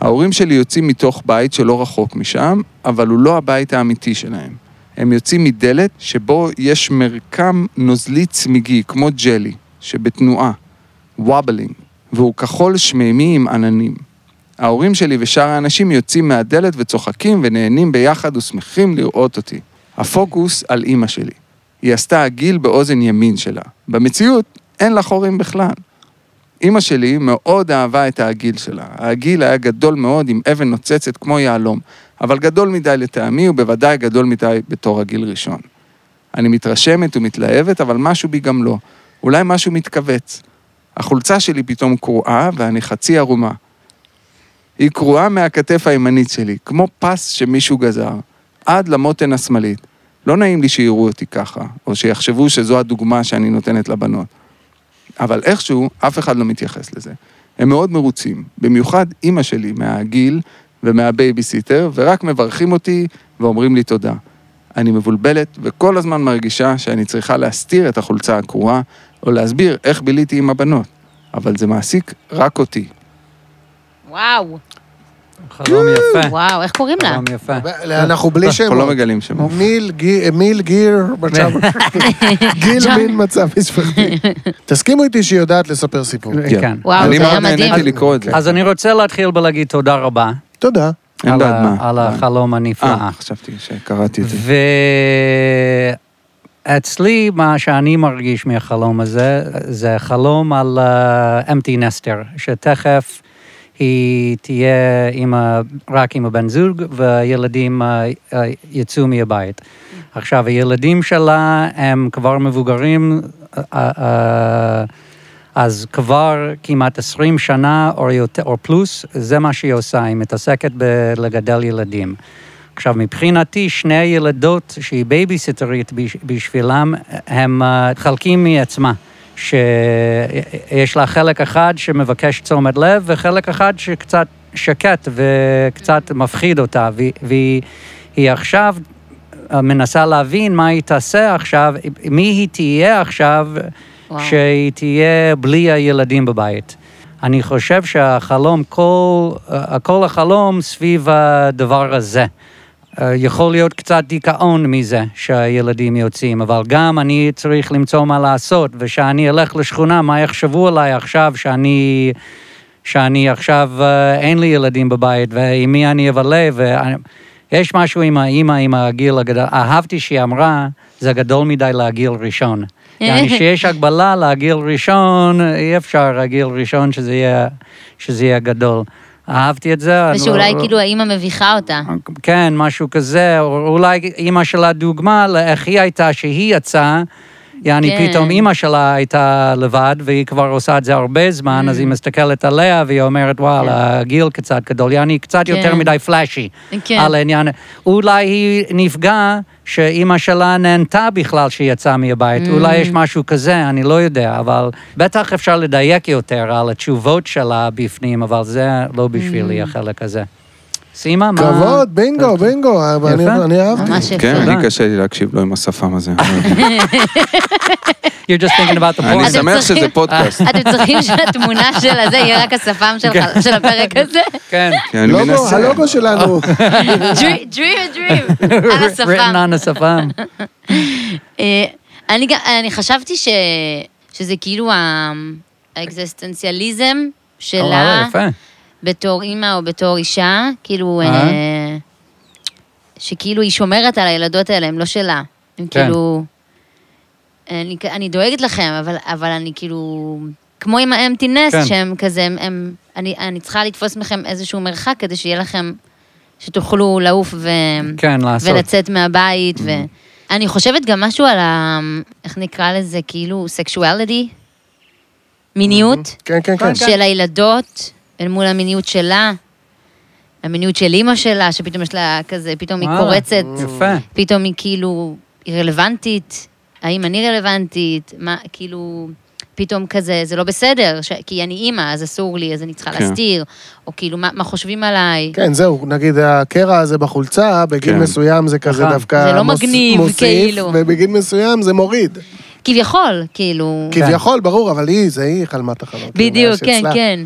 ההורים שלי יוצאים מתוך בית שלא רחוק משם, אבל הוא לא הבית האמיתי שלהם. הם יוצאים מדלת שבו יש מרקם נוזלי צמיגי, כמו ג'לי, שבתנועה, וובלינג, והוא כחול שמימי עם עננים. ההורים שלי ושאר האנשים יוצאים מהדלת וצוחקים ונהנים ביחד ושמחים לראות אותי. הפוקוס על אימא שלי. היא עשתה עגיל באוזן ימין שלה. במציאות, אין לה חורים בכלל. אימא שלי מאוד אהבה את העגיל שלה. העגיל היה גדול מאוד עם אבן נוצצת כמו יהלום, אבל גדול מדי לטעמי ובוודאי גדול מדי בתור עגיל ראשון. אני מתרשמת ומתלהבת, אבל משהו בי גם לא. אולי משהו מתכווץ. החולצה שלי פתאום קרועה ואני חצי ערומה. היא קרועה מהכתף הימנית שלי, כמו פס שמישהו גזר, עד למותן השמאלית. לא נעים לי שיראו אותי ככה, או שיחשבו שזו הדוגמה שאני נותנת לבנות. אבל איכשהו, אף אחד לא מתייחס לזה. הם מאוד מרוצים, במיוחד אימא שלי מהגיל ומהבייביסיטר, ורק מברכים אותי ואומרים לי תודה. אני מבולבלת וכל הזמן מרגישה שאני צריכה להסתיר את החולצה הקרועה, או להסביר איך ביליתי עם הבנות, אבל זה מעסיק רק אותי.
וואו,
אה,
חלום יפה.
וואו, איך קוראים לה?
חלום יפה.
אנחנו בלי
אנחנו לא
שמות.
מגלים
אה,
שמות.
מיל גי- מיל גיר מצב, גיל מין מצב משפחתי. תסכימו איתי שהיא יודעת לספר סיפור.
כן.
וואו,
אני
זה היה
מאוד
מדהים.
נהניתי לקרוא את זה.
אז אני רוצה להתחיל בלהגיד תודה רבה
תודה.
אין
על
בעד
ה-
מה.
על החלום הנפלא.
אה, חשבתי שקראתי את זה.
ואצלי, מה שאני מרגיש מהחלום הזה, זה חלום על אה, empty nester, שתכף היא תהיה עם ה... רק עם הבן זוג, והילדים אה, אה, יצאו מהבית. עכשיו, הילדים שלה הם כבר מבוגרים, אה, אה, אז כבר כמעט 20 שנה או יותר, או פלוס, זה מה שהיא עושה, היא מתעסקת בלגדל ילדים. עכשיו, מבחינתי, שני הילדות שהיא בייביסיטרית בש- בשבילם, הם אה, חלקים מעצמה. שיש לה חלק אחד שמבקש תשומת לב, וחלק אחד שקצת שקט וקצת מפחיד אותה, והיא- והיא היא עכשיו מנסה להבין מה היא תעשה עכשיו, מי היא תהיה עכשיו,
וואו.
שהיא תהיה בלי הילדים בבית. אני חושב שהחלום, כל, אה, כל החלום סביב הדבר הזה. אה, יכול להיות קצת דיכאון מזה שהילדים יוצאים, אבל גם אני צריך למצוא מה לעשות, ושאני אלך לשכונה, מה יחשבו עליי עכשיו שאני... שאני עכשיו, אה, אין לי ילדים בבית, ועם מי אני אבלה, ויש משהו עם האימא, עם הגיל הגדול. אהבתי שהיא אמרה, זה גדול מדי להגיל ראשון. יעני שיש הגבלה להגיל ראשון, אי אפשר להגיל ראשון שזה יהיה, שזה יהיה גדול. אהבתי את זה. אני לא-
ושאולי כאילו האימא מביכה אותה.
כן, משהו כזה, או אולי אימא שלה דוגמה לאיך היא הייתה שהיא יצאה, יעני
כן.
פתאום אימא שלה הייתה לבד, והיא כבר עושה את זה הרבה זמן,
Mm.
אז היא מסתכלת עליה, והיא אומרת, וואלה, הגיל קצת גדול, יעני קצת יותר
כן.
מדי פלאשי.
כן.
על העניין, אולי היא נפגעה שאימא שלה נהנתה בכלל שהיא יצאה מהבית,
Mm.
אולי יש משהו כזה, אני לא יודע, אבל בטח אפשר לדייק יותר על התשובות שלה בפנים, אבל זה לא
Mm.
בשבילי החלק הזה. סימה, מה... אוקיי.
כבוד, בינגו, בינגו, אבל אני-
יפה.
אני אהבתי.
ממש יפה.
כן,
תודה.
אני קשה לי להקשיב לו עם השפם הזה.
You're just thinking about the
אני
point.
אז הם
שמח
צריכים- אה.
שזה פודקאסט.
אתם צריכים שהתמונה של הזה יהיה רק השפם של ח- של הפרק הזה?
כן,
כי אני
לוגו,
מנסה.
הלוגו שלנו.
Dream dream a dream, על השפם.
written on Oh, השפם.
אה, אני גם, אני חשבתי ש, שזה כאילו ה- האקזיסטנציאליזם
וואלה,
שלה
אה, יפה.
בתור אימא או בתור אישה, כאילו,
אה.
אה, שכאילו היא שומרת על הילדות האלה, הם לא שלה. הם
כן.
כאילו... אני, אני דואגת לכם, אבל, אבל אני כאילו... כמו עם האמפטי נס,
כן.
שהם כזה, הם, הם, אני, אני צריכה לתפוס מכם איזשהו מרחק כדי שיהיה לכם, שתוכלו לעוף ו...
כן, לעשות. Mm-hmm.
ולצאת מהבית, ו... אני חושבת גם משהו על ה... איך נקרא לזה? כאילו, סקשואליטי?
Mm-hmm.
מיניות?
כן, כן, כן.
של הילדות, אל מול המיניות שלה, המיניות של אימא שלה, שפתאום יש לה כזה, פתאום היא
וואלה,
קורצת,
יפה.
פתאום היא כאילו, היא רלוונטית, האם אני רלוונטית, מה, כאילו, פתאום כזה, זה לא בסדר, ש... כי אני אימא, אז אסור לי, אז אני צריכה
כן.
להסתיר, או כאילו, מה, מה חושבים עליי.
כן, זהו, נגיד הקרע הזה בחולצה, בגיל
כן.
מסוים זה כזה
נכון.
דווקא
זה לא
מוס-
מגניב,
מוסיף,
כאילו.
ובגיל מסוים זה מוריד.
כביכול, כאילו.
כן.
כביכול, ברור, אבל היא, זה היא כאילו, חלמה תחרות.
בדיוק, כן, כן.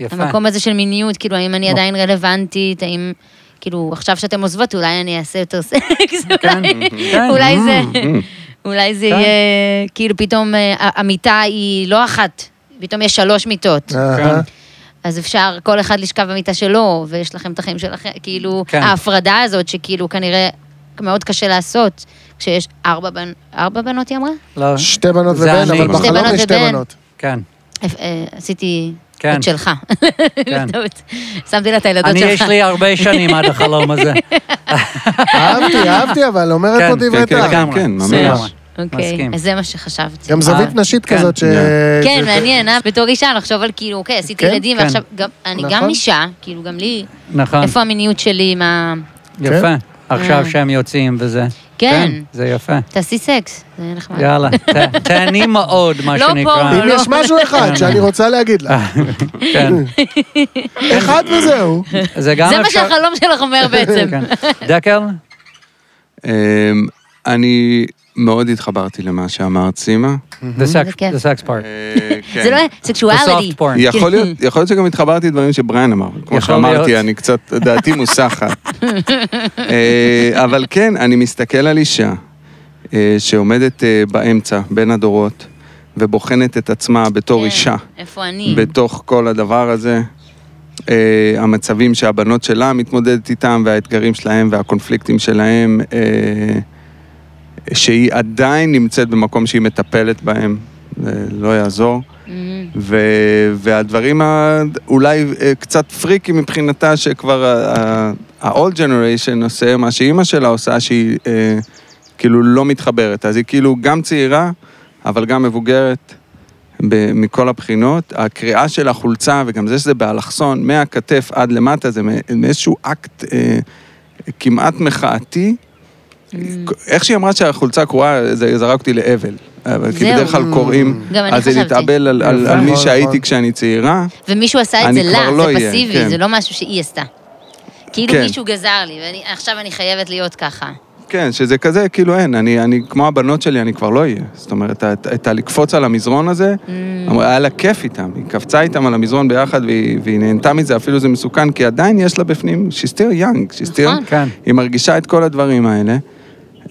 יפה.
המקום הזה של מיניות, כאילו, האם אני עדיין רלוונטית, האם, כאילו, עכשיו שאתם עוזבות, אולי אני אעשה יותר סקס,
כן,
אולי-
כן.
אולי זה, אולי זה
כן.
יהיה,
כן.
כאילו, פתאום אה, המיטה היא לא אחת, פתאום יש שלוש מיטות. אז אפשר כל אחד לשכב במיטה שלו, ויש לכם את החיים שלכם, כאילו,
כן.
כן. ההפרדה הזאת, שכאילו כנראה מאוד קשה לעשות, כשיש ארבע, בנ... ארבע בנות, היא אמרה?
לא,
שתי בנות
זה
ובן,
אני.
אבל
שתי
בחלום
בנות
יש שתי
ובן.
בנות.
כן.
אה, אה, עשיתי
כן.
את שלך.
כן.
בטעות. שמתי לה את הילדות
אני,
שלך.
יש לי הרבה שנים עד החלום הזה.
אהבתי, אהבתי, אבל אומרת
כן,
פה דברי
כן, כן,
טעם.
לגמרי.
כן, ממש.
לגמרי.
אוקיי,
מסכים.
אז זה מה שחשבתי.
גם זווית
אה,
נשית
כן.
כזאת ש...
כן,
זה-
מעניין, אה? בתור אישה לחשוב על כאילו, אוקיי, עשיתי
כן,
ילדים,
כן.
ועכשיו גם, אני
נכון.
גם אישה, כאילו, גם לי,
נכון,
איפה המיניות שלי עם ה...
יפה. עכשיו
אה.
שהם יוצאים וזה.
כן.
זה יפה.
תעשי סקס, זה יהיה נחמד.
יאללה, ת- תהני מאוד, מה
לא פה,
שנקרא.
אם
לא.
יש משהו אחד שאני רוצה להגיד לך,
אה.
כן,
אחד וזהו.
זה גם
זה מה
אפשר...
שהחלום שלך אומר בעצם.
כן. דקל?
אמ, אני מאוד התחברתי למה שאמרת, סימה.
The sex-
בכיף.
the sex part.
אה, כן.
זה לא
The
סקשואליטי.
soft porn.
יכול להיות, יכול להיות שגם התחברתי לדברים שבריין אמר. כמו
יכול
שאמרתי,
להיות.
אני קצת, דעתי מוסחת. אה, אבל כן, אני מסתכל על אישה אה, שעומדת אה, באמצע, בין הדורות, ובוחנת את עצמה בתור
כן,
אישה,
איפה אני?
בתוך כל הדבר הזה. אה, המצבים שהבנות שלה מתמודדת איתם, והאתגרים שלהם, והקונפליקטים שלהם, אה, שהיא עדיין נמצאת במקום שהיא מטפלת בהם, זה לא יעזור.
Mhm.
ו- והדברים ה- אולי אה, קצת פריקי מבחינתה, שכבר ה- ה- ה-old generation עושה מה שאימא שלה עושה, שהיא אה, כאילו לא מתחברת. אז היא כאילו גם צעירה, אבל גם מבוגרת ב- מכל הבחינות. הקריאה של החולצה, וגם זה שזה באלכסון, מהכתף עד למטה, זה מא- מאיזשהו אקט אה, כמעט מחאתי. איך שהיא אמרה שהחולצה קרועה, זה זרק אותי לאבל. אבל כי
זהו.
בדרך כלל קוראים,
גם אני
אז זה
חשבתי.
להתאבל על- על
נכון,
על מי
נכון.
שהייתי כשאני צעירה.
ומישהו עשה את
אני
זה
כבר
לה,
לא
זה
אהיה, כן.
פסיבי, זה לא משהו שהיא עשתה. כאילו
כן.
מישהו גזר לי, ועכשיו אני חייבת להיות ככה.
כן, שזה כזה, כאילו אין, אני, אני כמו הבנות שלי, אני כבר לא אהיה. זאת אומרת, את, את הלקפוץ על המזרון הזה,
Mm.
אמרה, היה לה כיף איתם, היא קפצה איתם על המזרון ביחד והיא, והיא נהנתה מזה, אפילו זה מסוכן, כי עדיין יש לה בפנים, she's still young, she's still,
נכון.
כן.
היא מרגישה את כל הדברים האלה.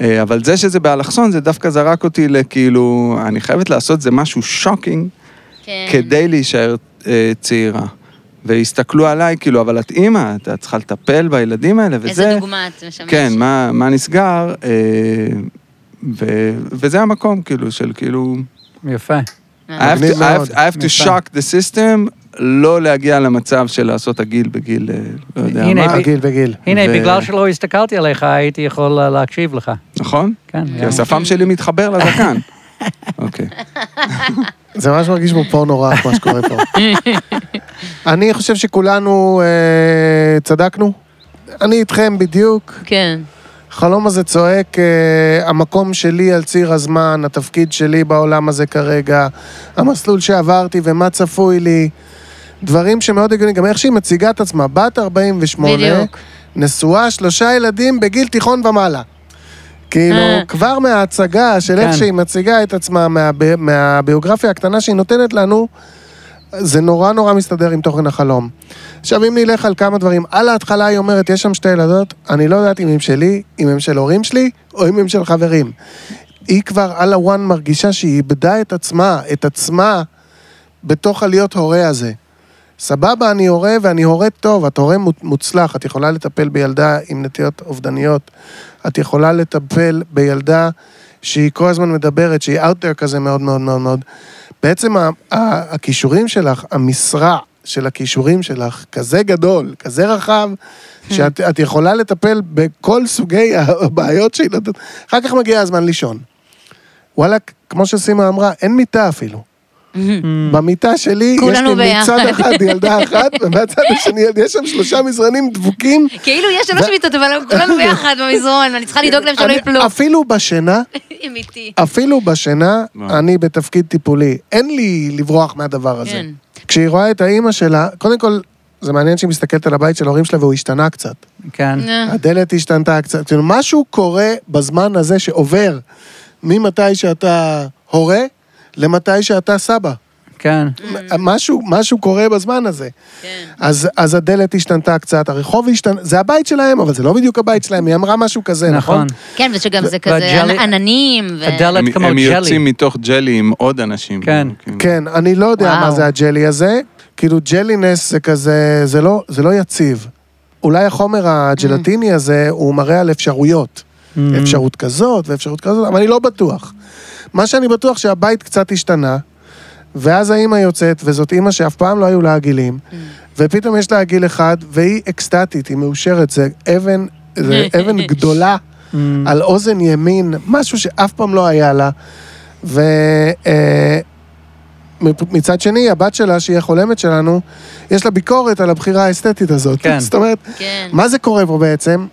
אה, אבל זה שזה באלכסון, זה דווקא זרק אותי לכאילו, אני חייבת לעשות זה משהו שוקינג,
כן.
כדי להישאר אה, צעירה. והסתכלו עליי, כאילו, אבל את אימא, את את צריכה לטפל בילדים האלה, וזה...
איזה דוגמה את משמשת.
כן, מה, מה נסגר, אה, ו, וזה המקום, כאילו, של כאילו...
יפה.
I have
מגניב
to, I have,
מאוד.
I have to
יפה.
shock the system, לא להגיע למצב של לעשות עגיל בגיל, אה, לא יודע
הנה,
מה,
ב-
בגיל, בגיל.
הנה,
ו-
בגלל שלא הסתכלתי עליך, הייתי יכול אה, להקשיב לך.
נכון?
כן.
כי השפם שלי מתחבר לזקן. אוקיי.
זה ממש מרגיש כמו פורנו רך, מה שקורה פה. אני חושב שכולנו אה, צדקנו. אני איתכם בדיוק.
כן.
החלום הזה צועק, אה, המקום שלי על ציר הזמן, התפקיד שלי בעולם הזה כרגע, המסלול שעברתי ומה צפוי לי, דברים שמאוד הגיוניים, גם איך שהיא מציגה את עצמה, בת 48,
בדיוק.
נשואה, שלושה ילדים בגיל תיכון ומעלה. כאילו,
אה.
כבר מההצגה של איך
כן.
שהיא מציגה את עצמה, מהב- מהביוגרפיה הקטנה שהיא נותנת לנו, זה נורא נורא מסתדר עם תוכן החלום. עכשיו, אם נלך על כמה דברים, על ההתחלה היא אומרת, יש שם שתי ילדות, אני לא יודעת אם הם שלי, אם הם של הורים שלי, או אם הם של חברים. היא כבר על הוואן מרגישה שהיא איבדה את עצמה, את עצמה, בתוך הלהיות הורה הזה. סבבה, אני הורה, ואני הורה טוב, את הורה מוצ- מוצלח, את יכולה לטפל בילדה עם נטיות אובדניות, את יכולה לטפל בילדה שהיא כל הזמן מדברת, שהיא out there כזה מאוד מאוד מאוד מאוד. בעצם ה- ה- הכישורים שלך, המשרה של הכישורים שלך, כזה גדול, כזה רחב,
כן.
שאת את יכולה לטפל בכל סוגי הבעיות שהיא נותנת. אחר כך מגיע הזמן לישון. וואלכ, כמו שסימה אמרה, אין מיטה אפילו.
Mm-hmm.
במיטה שלי, יש לי
Mm. כולנו ביחד.
מצד אחד ילדה אחת, ומהצד השני יש שם שלושה מזרנים דבוקים.
כאילו יש שלוש מיטות, אבל הם כולנו ביחד במזרון, ואני צריכה לדאוג להם שלא
אני-
יפלו.
אפילו בשינה,
אמיתי.
אפילו בשינה,
וואו.
אני בתפקיד טיפולי. אין לי לברוח מהדבר הזה.
כן.
כשהיא רואה את האימא שלה, קודם כל, זה מעניין שהיא מסתכלת על הבית של ההורים שלה והוא השתנה קצת.
כן.
אה,
הדלת השתנתה קצת. כאילו, משהו קורה בזמן הזה שעובר ממתי שאתה הורה למתי שאתה סבא.
כן.
משהו, משהו קורה בזמן הזה.
אה. כן.
אז, אז הדלת השתנתה קצת, הרחוב השתנה, זה הבית שלהם, אבל זה לא בדיוק הבית שלהם, היא אמרה משהו כזה, נכון?
נכון.
נכון.
כן, ושגם זה כזה
והג'לי-
עננים. ו-
הדלת
הם-
כמו
הם יוצאים
ג'לי.
מתוך ג'לי עם עוד אנשים.
כן.
כאילו.
כן, אני לא יודע
וואו.
מה זה הג'לי הזה. כאילו ג'לינס זה כזה, זה לא, זה לא יציב. אולי החומר הג'לטיני הזה, הוא מראה על אפשרויות. אפשרות כזאת ואפשרות כזאת, אבל אני לא בטוח. מה שאני בטוח שהבית קצת השתנה, ואז האימא יוצאת, וזאת אימא שאף פעם לא היו לה עגילים, ופתאום יש לה עגיל אחד, והיא אקסטטית, היא מאושרת, זה אבן, זה אבן גדולה על אוזן ימין, משהו שאף פעם לא היה לה. ומצד שני, הבת שלה, שהיא החולמת שלנו, יש לה ביקורת על הבחירה האסתטית הזאת.
כן.
זאת אומרת,
כן.
מה זה קורה פה בעצם?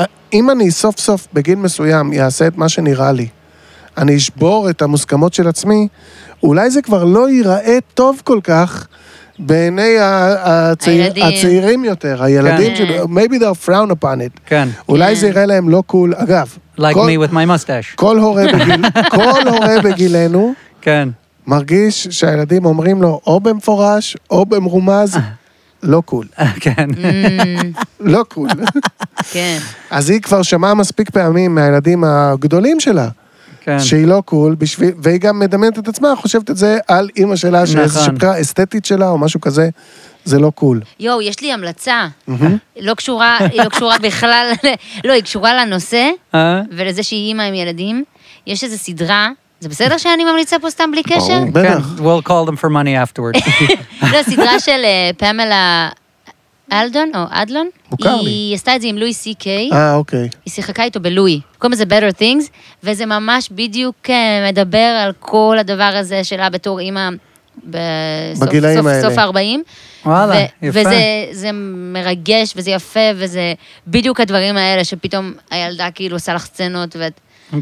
אה, אם אני סוף סוף בגיל מסוים אעשה את מה שנראה לי, אני אשבור את המוסכמות של עצמי, אולי זה כבר לא ייראה טוב כל כך בעיני ה- הצעיר,
הילדים.
הצעירים יותר, הילדים
כן.
של... maybe they'll frown upon it.
כן.
אולי
כן.
זה יראה להם לא קול. אגב,
Like
כל,
me with my mustache.
כל, הורה בגיל, כל הורה בגילנו
כן.
מרגיש שהילדים אומרים לו או במפורש או במרומז, לא קול.
כן.
לא קול.
כן.
אז היא כבר שמעה מספיק פעמים מהילדים הגדולים שלה,
כן.
שהיא לא קול, בשביל, והיא גם מדמיינת את עצמה, חושבת את זה על אימא שלה, שאיזו
נכון.
שפקה אסתטית שלה או משהו כזה, זה לא קול.
כן.
יואו, יש לי המלצה. לא קשורה, היא לא קשורה בכלל, לא, היא קשורה לנושא
אה?
ולזה שהיא אימא עם ילדים. יש איזו סדרה, זה בסדר שאני ממליצה פה סתם בלי קשר?
ברור.
כן.
בטח.
We'll call them for money afterwards.
לא, סדרה של אה, פמלה אלדון, או אדלון.
מוכר לי.
היא עשתה את זה עם לואי סי קיי.
אה, אוקיי.
היא שיחקה איתו בלואי, קוראים לזה Better Things, וזה ממש בדיוק אה, מדבר על כל הדבר הזה שלה בתור אימא בסוף
בגילאים
סוף,
האלה.
סוף ה-40.
וואלה, יפה.
וזה זה מרגש, וזה יפה, וזה בדיוק הדברים האלה, שפתאום הילדה כאילו עושה לך סצנות, ואת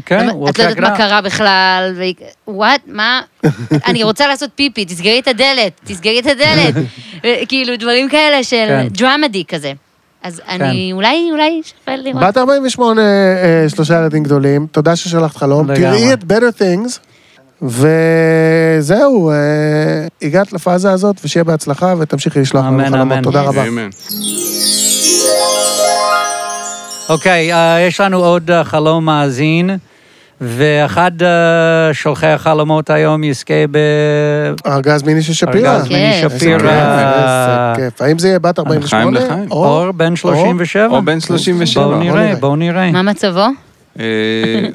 כן,
לא-
we'll
את לא
check
יודעת
it
מה
out.
קרה בכלל, והיא... וואט, מה? אני רוצה לעשות פיפי, תסגרי את הדלת, תסגרי את הדלת. ו- כאילו, דברים כאלה של
כן.
דרמדי כזה. אז אני, אולי, אולי שווה לראות.
בת 48, אה, שלושה ילדים גדולים, תודה ששלחת חלום.
לגמרי.
תראי את Better Things, וזהו, אה, הגעת לפאזה הזאת, ושיהיה בהצלחה, ותמשיכי לשלוח לנו
אמן,
חלומות.
אמן.
תודה
Yes.
רבה.
אמן.
אוקיי, אה, יש לנו עוד אה, חלום מאזין, ואחד אה, שולחי החלומות היום יזכה ב...
ארגז מיני של שפירא.
ארגז מיני
איזה
כיף.
כיף,
שפירא. אה,
איזה כיף. האם זה יהיה בת 48?
חיים לחיים.
או-
אור בן 37.
או בן 37.
בואו נראה,
נראה.
בואו נראה.
מה מצבו?
אה,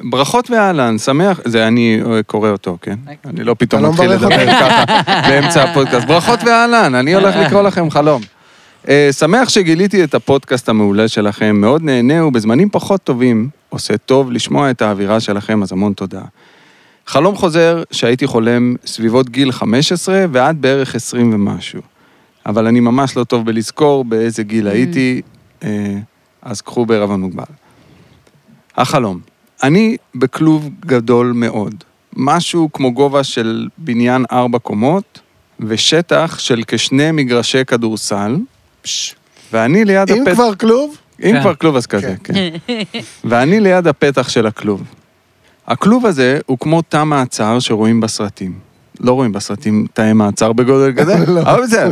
ברכות ואהלן, שמח, זה אני אה, קורא אותו, כן? אני לא פתאום
אתה לא
מתחיל
מברך
לדבר
אותו.
ככה באמצע הפודקאסט. ברכות ואהלן, אני הולך לקרוא לכם חלום. אה, שמח שגיליתי את הפודקאסט המעולה שלכם, מאוד נהנה ובזמנים פחות טובים עושה טוב לשמוע את האווירה שלכם, אז המון תודה. חלום חוזר שהייתי חולם סביבות גיל 15 ועד בערך 20 ומשהו. אבל אני ממש לא טוב בלזכור באיזה גיל הייתי, אה, אז קחו בערבון מוגבל. החלום. אני בכלוב גדול מאוד. משהו כמו גובה של בניין ארבע קומות, ושטח של כשני מגרשי כדורסל,
פש.
ואני ליד
אם
הפתח...
כבר כלוב,
אם
כן.
כבר כלוב אז כזה, כן. ואני ליד הפתח של הכלוב. הכלוב הזה הוא כמו תא מעצר שרואים בסרטים. לא רואים בסרטים תאי מעצר בגודל כזה, אבל בסדר.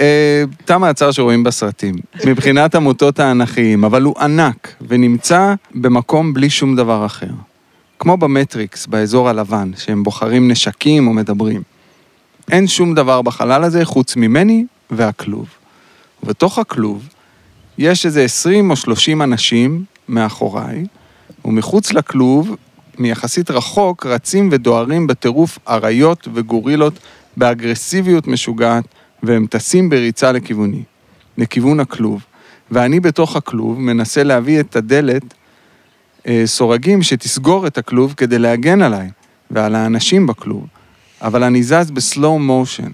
אה, תא מעצר שרואים בסרטים, מבחינת המוטות האנכיים, אבל הוא ענק ונמצא במקום בלי שום דבר אחר. כמו במטריקס, באזור הלבן, שהם בוחרים נשקים או מדברים. אין שום דבר בחלל הזה חוץ ממני והכלוב. ובתוך הכלוב יש איזה 20 או 30 אנשים מאחוריי, ומחוץ לכלוב, מיחסית רחוק, רצים ודוהרים בטירוף אריות וגורילות באגרסיביות משוגעת, והם טסים בריצה לכיווני, לכיוון הכלוב. ואני בתוך הכלוב מנסה להביא את הדלת אה, סורגים שתסגור את הכלוב כדי להגן עליי ועל האנשים בכלוב, אבל אני זז בסלואו מושן.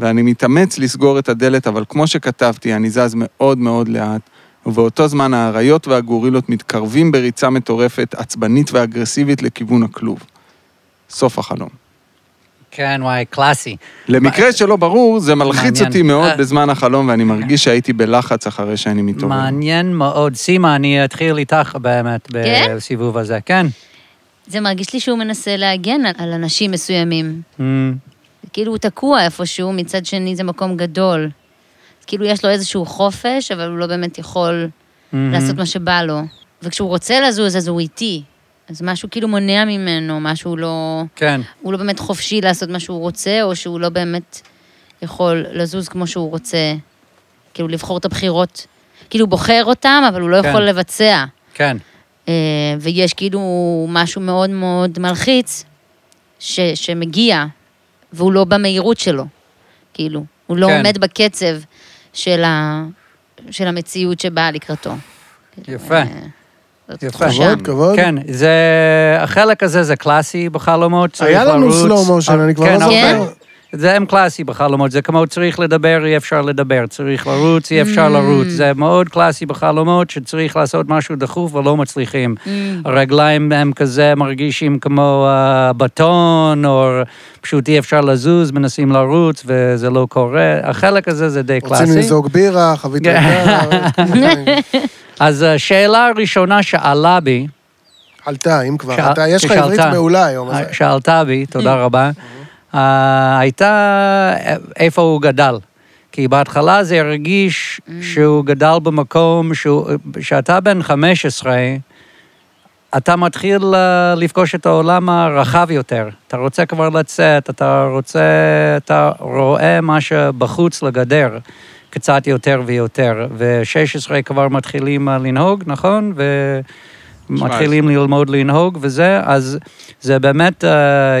ואני מתאמץ לסגור את הדלת, אבל כמו שכתבתי, אני זז מאוד מאוד לאט, ובאותו זמן האריות והגורילות מתקרבים בריצה מטורפת, עצבנית ואגרסיבית לכיוון הכלוב. סוף החלום.
כן, וואי, קלאסי.
למקרה שלא ברור, זה מלחיץ
מעניין.
אותי מאוד
אה.
בזמן החלום, ואני מרגיש שהייתי בלחץ אחרי שאני מתעורר.
מעניין מאוד. סימה, אני אתחיל איתך באמת
כן?
בסיבוב הזה. כן.
זה מרגיש לי שהוא מנסה להגן על- על אנשים מסוימים.
Mm,
כאילו הוא תקוע איפשהו, מצד שני זה מקום גדול. אז כאילו יש לו איזשהו חופש, אבל הוא לא באמת יכול
מהמם.
לעשות מה שבא לו. וכשהוא רוצה לזוז, אז הוא איטי. אז משהו כאילו מונע ממנו, משהו לא...
כן.
הוא לא באמת חופשי לעשות מה שהוא רוצה, או שהוא לא באמת יכול לזוז כמו שהוא רוצה, כאילו לבחור את הבחירות, כאילו הוא בוחר אותם, אבל הוא לא
כן.
יכול לבצע.
כן.
אה, ויש כאילו משהו מאוד מאוד מלחיץ ש, שמגיע, והוא לא במהירות שלו, כאילו, הוא לא
כן.
עומד בקצב של, ה, של המציאות שבאה לקראתו.
יפה.
אה, זאת
יפה.
תחושה.
כבוד, כבוד.
כן, זה, החלק הזה זה קלאסי בחלומות, צריך
היה לנו
לרוץ.
slow motion,
אה,
אני כבר
כן,
לא
הרבה.
זוכר.
זה הם קלאסי בחלומות, זה כמו צריך לדבר, אי אפשר לדבר, צריך לרוץ, אי אפשר לרוץ. זה מאוד קלאסי בחלומות, שצריך לעשות משהו דחוף ולא מצליחים. הרגליים הם כזה מרגישים כמו אה, בטון, או פשוט אי אפשר לזוז, מנסים לרוץ וזה לא קורה. החלק הזה זה די קלאסי.
רוצים לזוג בירה, חבית
כן.
רגע,
אז השאלה הראשונה שעלה בי,
עלתה, אם כבר.
שע-
אתה- יש לך
ששאלת-
עברית מעולה היום.
אה,
אז-
שאלתה בי, תודה רבה. אה, הייתה איפה הוא גדל. כי בהתחלה זה הרגיש שהוא גדל במקום שהוא- שאתה בן 15, אתה מתחיל אה, לפגוש את העולם הרחב יותר. אתה רוצה כבר לצאת, אתה רוצה, אתה רואה מה שבחוץ לגדר קצת יותר ויותר. ו-16 כבר מתחילים אה, לנהוג, נכון? ומתחילים ללמוד לנהוג וזה, אז זה באמת אה,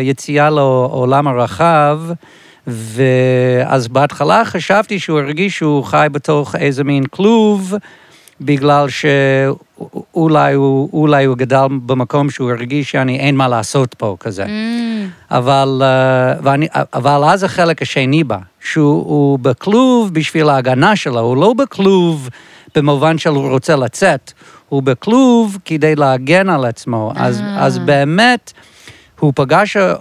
יציאה לעולם הרחב. ואז בהתחלה חשבתי שהוא הרגיש שהוא חי בתוך איזה מין כלוב, בגלל שאולי הוא, אולי הוא גדל במקום שהוא הרגיש שאני אין מה לעשות פה כזה. אבל, אה, ואני, אבל אז החלק השני בה, שהוא הוא בכלוב בשביל ההגנה שלו, הוא לא בכלוב במובן שהוא רוצה לצאת, הוא בכלוב כדי להגן על עצמו. אז, אז באמת, הוא פגש אה,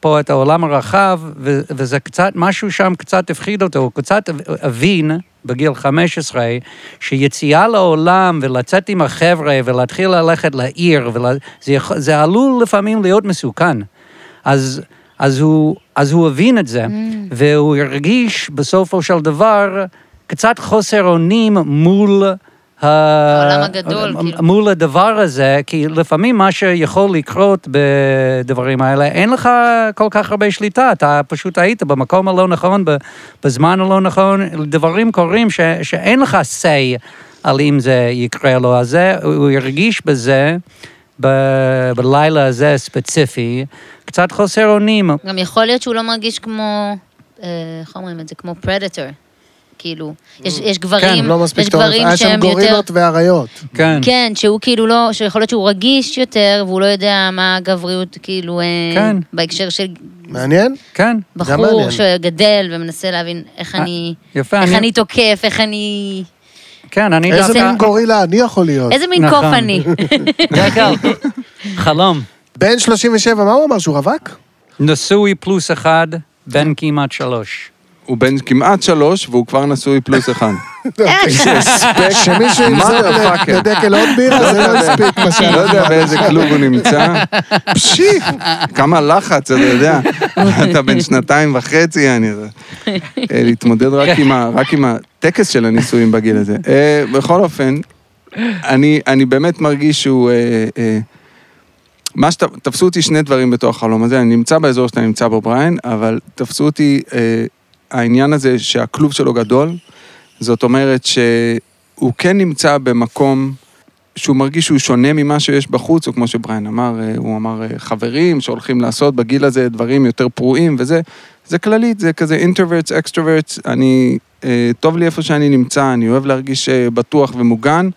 פה את העולם הרחב, ו- וזה קצת, משהו שם קצת הפחיד אותו, הוא קצת הבין בגיל 15, שיציאה לעולם ולצאת עם החבר'ה ולהתחיל ללכת לעיר, ולה, זה, יכול, זה עלול לפעמים להיות מסוכן. אז, אז, הוא, אז הוא הבין את זה, mm. והוא הרגיש בסופו של דבר קצת חוסר אונים מול... ה-
העולם הגדול,
מ-
כאילו.
מול הדבר הזה, כי לפעמים מה שיכול לקרות בדברים האלה, אין לך כל כך הרבה שליטה, אתה פשוט היית במקום הלא נכון, ב- בזמן הלא נכון, דברים קורים ש, שאין לך say על אם זה יקרה לו. אז זה, הוא הרגיש בזה, ב- בלילה הזה ספציפי, קצת חוסר אונים.
גם יכול להיות שהוא לא מרגיש כמו, אה, איך אומרים את זה? כמו פרדטור. כאילו, יש,
Mm.
יש גברים,
כן, לא מספיק
יש
טוב.
גברים
היה שם
שהם יותר...
גורילות ואריות.
כן.
כן, שהוא כאילו לא, שיכול להיות שהוא רגיש יותר, והוא לא יודע מה הגבריות, כאילו, אה,
כן.
בהקשר של
מעניין?
כן.
מעניין.
בחור שגדל ומנסה להבין איך
אה,
אני,
יפה,
איך
אני-
אני תוקף, איך אני...
כן, אני
איזה
דווקא...
מין גורילה אני יכול להיות?
איזה מין
נכון.
קוף אני.
דקה, חלום.
בן 37, מה הוא אמר, שהוא רווק?
נשוי פלוס אחד, בן
כן.
כמעט שלוש.
הוא בן כמעט שלוש, והוא כבר נשוי פלוס אחד.
אה.
שמישהו ימזוג
Motherfucker.
לדקל עוד בירה, זה לא הספיק מה
לא
שאנחנו
יודע באיזה כלוב הוא נמצא. פשי, כמה לחץ, אתה יודע. אתה בן שנתיים וחצי, אני... אה, להתמודד רק עם ה- רק עם הטקס של הנישואים בגיל הזה. אה, בכל אופן, אני אני באמת מרגיש שהוא... אה, אה, מה שתפסו אותי שני דברים בתוך החלום הזה, אני נמצא באזור שאתה נמצא בו, בריין, אבל תפסו אותי אה, העניין הזה שהכלוב שלו גדול, זאת אומרת שהוא כן נמצא במקום שהוא מרגיש שהוא שונה ממה שיש בחוץ, או כמו שבריין אמר, אה, הוא אמר אה, חברים שהולכים לעשות בגיל הזה דברים יותר פרועים וזה, זה כללית, זה כזה אינטרוורטס, אקסטרוורטס, אני, אה, טוב לי איפה שאני נמצא, אני אוהב להרגיש אה, בטוח ומוגן,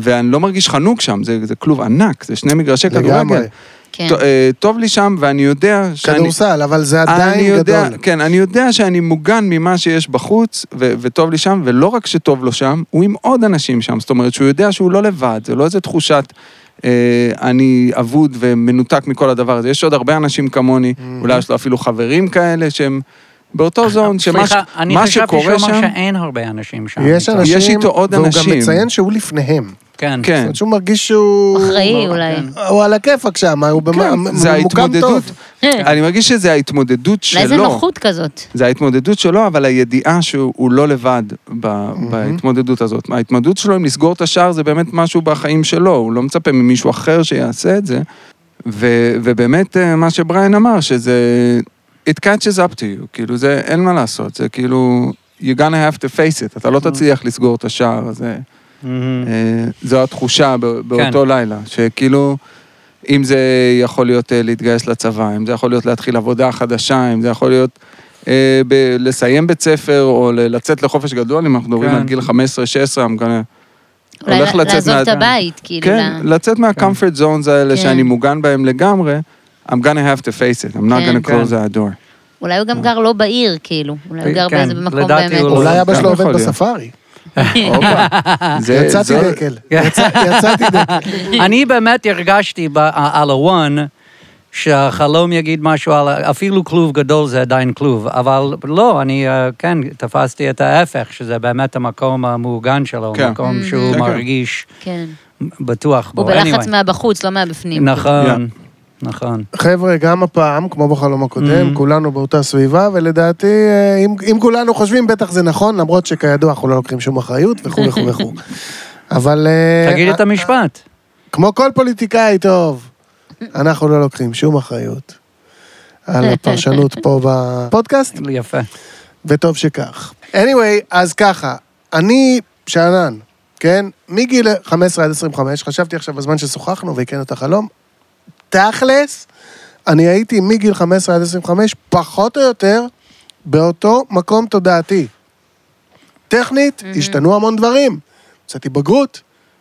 ואני לא מרגיש חנוק שם, זה, זה כלוב ענק, זה שני מגרשי
לגמרי.
כדורגל.
כן.
ט- אה, טוב לי שם, ואני יודע שאני...
כדורסל, אבל זה
אני
עדיין
יודע,
גדול.
כן, אני יודע שאני מוגן ממה שיש בחוץ, ו- וטוב לי שם, ולא רק שטוב לו שם, הוא עם עוד אנשים שם. זאת אומרת, שהוא יודע שהוא לא לבד, זה לא איזה תחושת אה, אני אבוד ומנותק מכל הדבר הזה. יש עוד הרבה אנשים כמוני, אולי יש לו אפילו חברים כאלה שהם באותו זון, שמה ש-
סליחה, אני
מה
חשבתי שהוא
שקורה שם...
אמר שאין הרבה אנשים שם.
יש אנשים,
יש איתו עוד
והוא גם
אנשים.
מציין שהוא לפניהם. זאת
כן.
כן.
אומרת שהוא מרגיש שהוא...
אה,
אחראי אולי.
הוא על הכיפאק שם, הוא במ-
כן, זה
ממוקם
ההתמודדות.
טוב.
אני מרגיש שזה ההתמודדות כן. שלו.
אולי זה נוחות כזאת.
זה ההתמודדות שלו, אבל הידיעה שהוא לא לבד ב- בהתמודדות הזאת. ההתמודדות שלו עם לסגור את השער זה באמת משהו בחיים שלו, הוא לא מצפה ממישהו אחר שיעשה את זה. ו- ובאמת, אה, מה שבריין אמר, שזה it catches up to you, כאילו זה, אין מה לעשות, זה כאילו, you're gonna have to face it, אתה לא תצליח לסגור את השער, זה,
מהמם.
אה, זו התחושה בא-
כן.
באותו לילה, שכאילו, אם זה יכול להיות אה, להתגייס לצבא, אם זה יכול להיות להתחיל עבודה חדשה, אם זה יכול להיות אה, ב- לסיים בית ספר, או ל- לצאת לחופש גדול, אם אנחנו מדברים
כן.
על גיל 15-16, I'm gonna...
כן, אולי
הולך לצאת
לעזוב
מה-
את הבית, כאילו.
כן,
ל-
לצאת מה-comfort zones האלה
כן.
שאני מוגן בהם לגמרי, I'm gonna have to face it, I'm not
כן.
gonna close that door.
אולי הוא גם גר לא בעיר, כאילו. אולי
אה,
הוא גר
כן,
באיזה במקום
לדעתי
באמת.
הוא לא.
אולי אבא
גם
שלו
יכול
עובד
להיות.
בספארי.
הופה. זה-
יצאתי
זו-
דקל. יצא- יצאתי דקל.
אני באמת הרגשתי ב- על הוואן, שהחלום יגיד משהו על, ה- אפילו כלוב גדול זה עדיין כלוב, אבל לא, אני אה, כן תפסתי את ההפך, שזה באמת המקום המעוגן שלו,
כן.
מקום שהוא
כן, כן.
מרגיש
כן.
בטוח בו.
הוא בלחץ
Anyway.
מהבחוץ, לא מהבפנים.
נכון, נכון.
חבר'ה, גם הפעם, כמו בחלום הקודם,
Mhm.
כולנו באותה סביבה, ולדעתי, אה, אם- אם כולנו חושבים, בטח זה נכון, למרות שכידוע אנחנו לא לוקחים שום אחריות וכו' וכו' וכו'. אבל... אה,
תגיד את המשפט.
כמו כל פוליטיקאי טוב, אנחנו לא לוקחים שום אחריות על הפרשנות פה בפודקאסט,
יפה.
Mm. וטוב שכך. anyway, אז ככה, אני שאנן, כן? מגיל 15 עד 25, חשבתי עכשיו בזמן ששוחחנו והקראנו את החלום, תכלס, אני הייתי מגיל 15 עד 25, פחות או יותר, באותו מקום תודעתי. טכנית, השתנו המון דברים. יצאתי בגרות,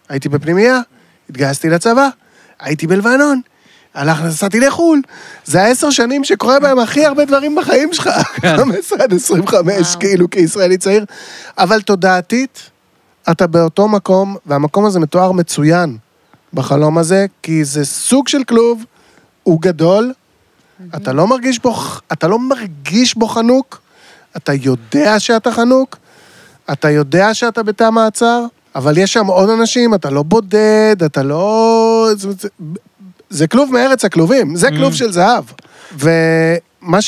הייתי בפנימייה, התגייסתי לצבא, הייתי בלבנון, הלך, נסעתי לחו"ל. זה העשר שנים שקורה בהם הכי הרבה דברים בחיים שלך, 15 עד 25,
וואו.
כאילו, כישראלי צעיר. אבל תודעתית, אתה באותו מקום, והמקום הזה מתואר מצוין בחלום הזה, כי זה סוג של כלוב, הוא גדול, אתה לא מרגיש בו, אתה לא מרגיש בו חנוק, אתה יודע שאתה חנוק, אתה יודע שאתה בתא מעצר, אבל יש שם עוד אנשים, אתה לא בודד, אתה לא... זה, זה, זה כלוב מארץ הכלובים, זה כלוב של זהב. ומה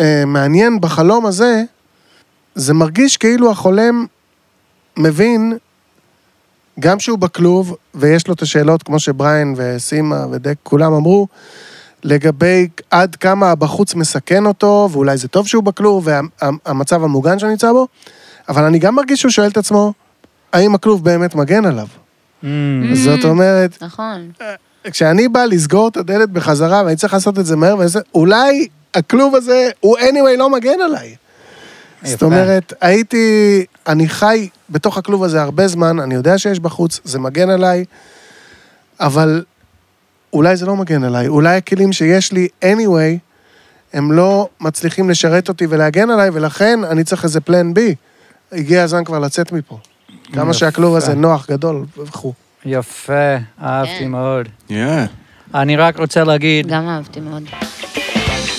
שמעניין בחלום הזה, זה מרגיש כאילו החולם מבין גם שהוא בכלוב, ויש לו את השאלות, כמו שבריין וסימה ודק כולם אמרו, לגבי עד כמה הבחוץ מסכן אותו, ואולי זה טוב שהוא בכלוב, והמצב המוגן שהוא נמצא בו, אבל אני גם מרגיש שהוא שואל את עצמו, האם הכלוב באמת מגן עליו?
Mm.
זאת אומרת,
נכון.
כשאני בא לסגור את הדלת בחזרה, ואני צריך לעשות את זה מהר, ואני עושה- אולי הכלוב הזה, הוא anyway לא מגן עליי. זאת
יפה.
אומרת, הייתי, אני חי בתוך הכלוב הזה הרבה זמן, אני יודע שיש בחוץ, זה מגן עליי, אבל אולי זה לא מגן עליי, אולי הכלים שיש לי anyway, הם לא מצליחים לשרת אותי ולהגן עליי, ולכן אני צריך איזה plan B. הגיע הזמן כבר לצאת מפה. כמה
יפה.
שהכלוב הזה נוח, גדול וכו'.
יפה, אהבתי
כן.
מאוד.
Yeah.
אני רק רוצה להגיד,
גם אהבתי מאוד.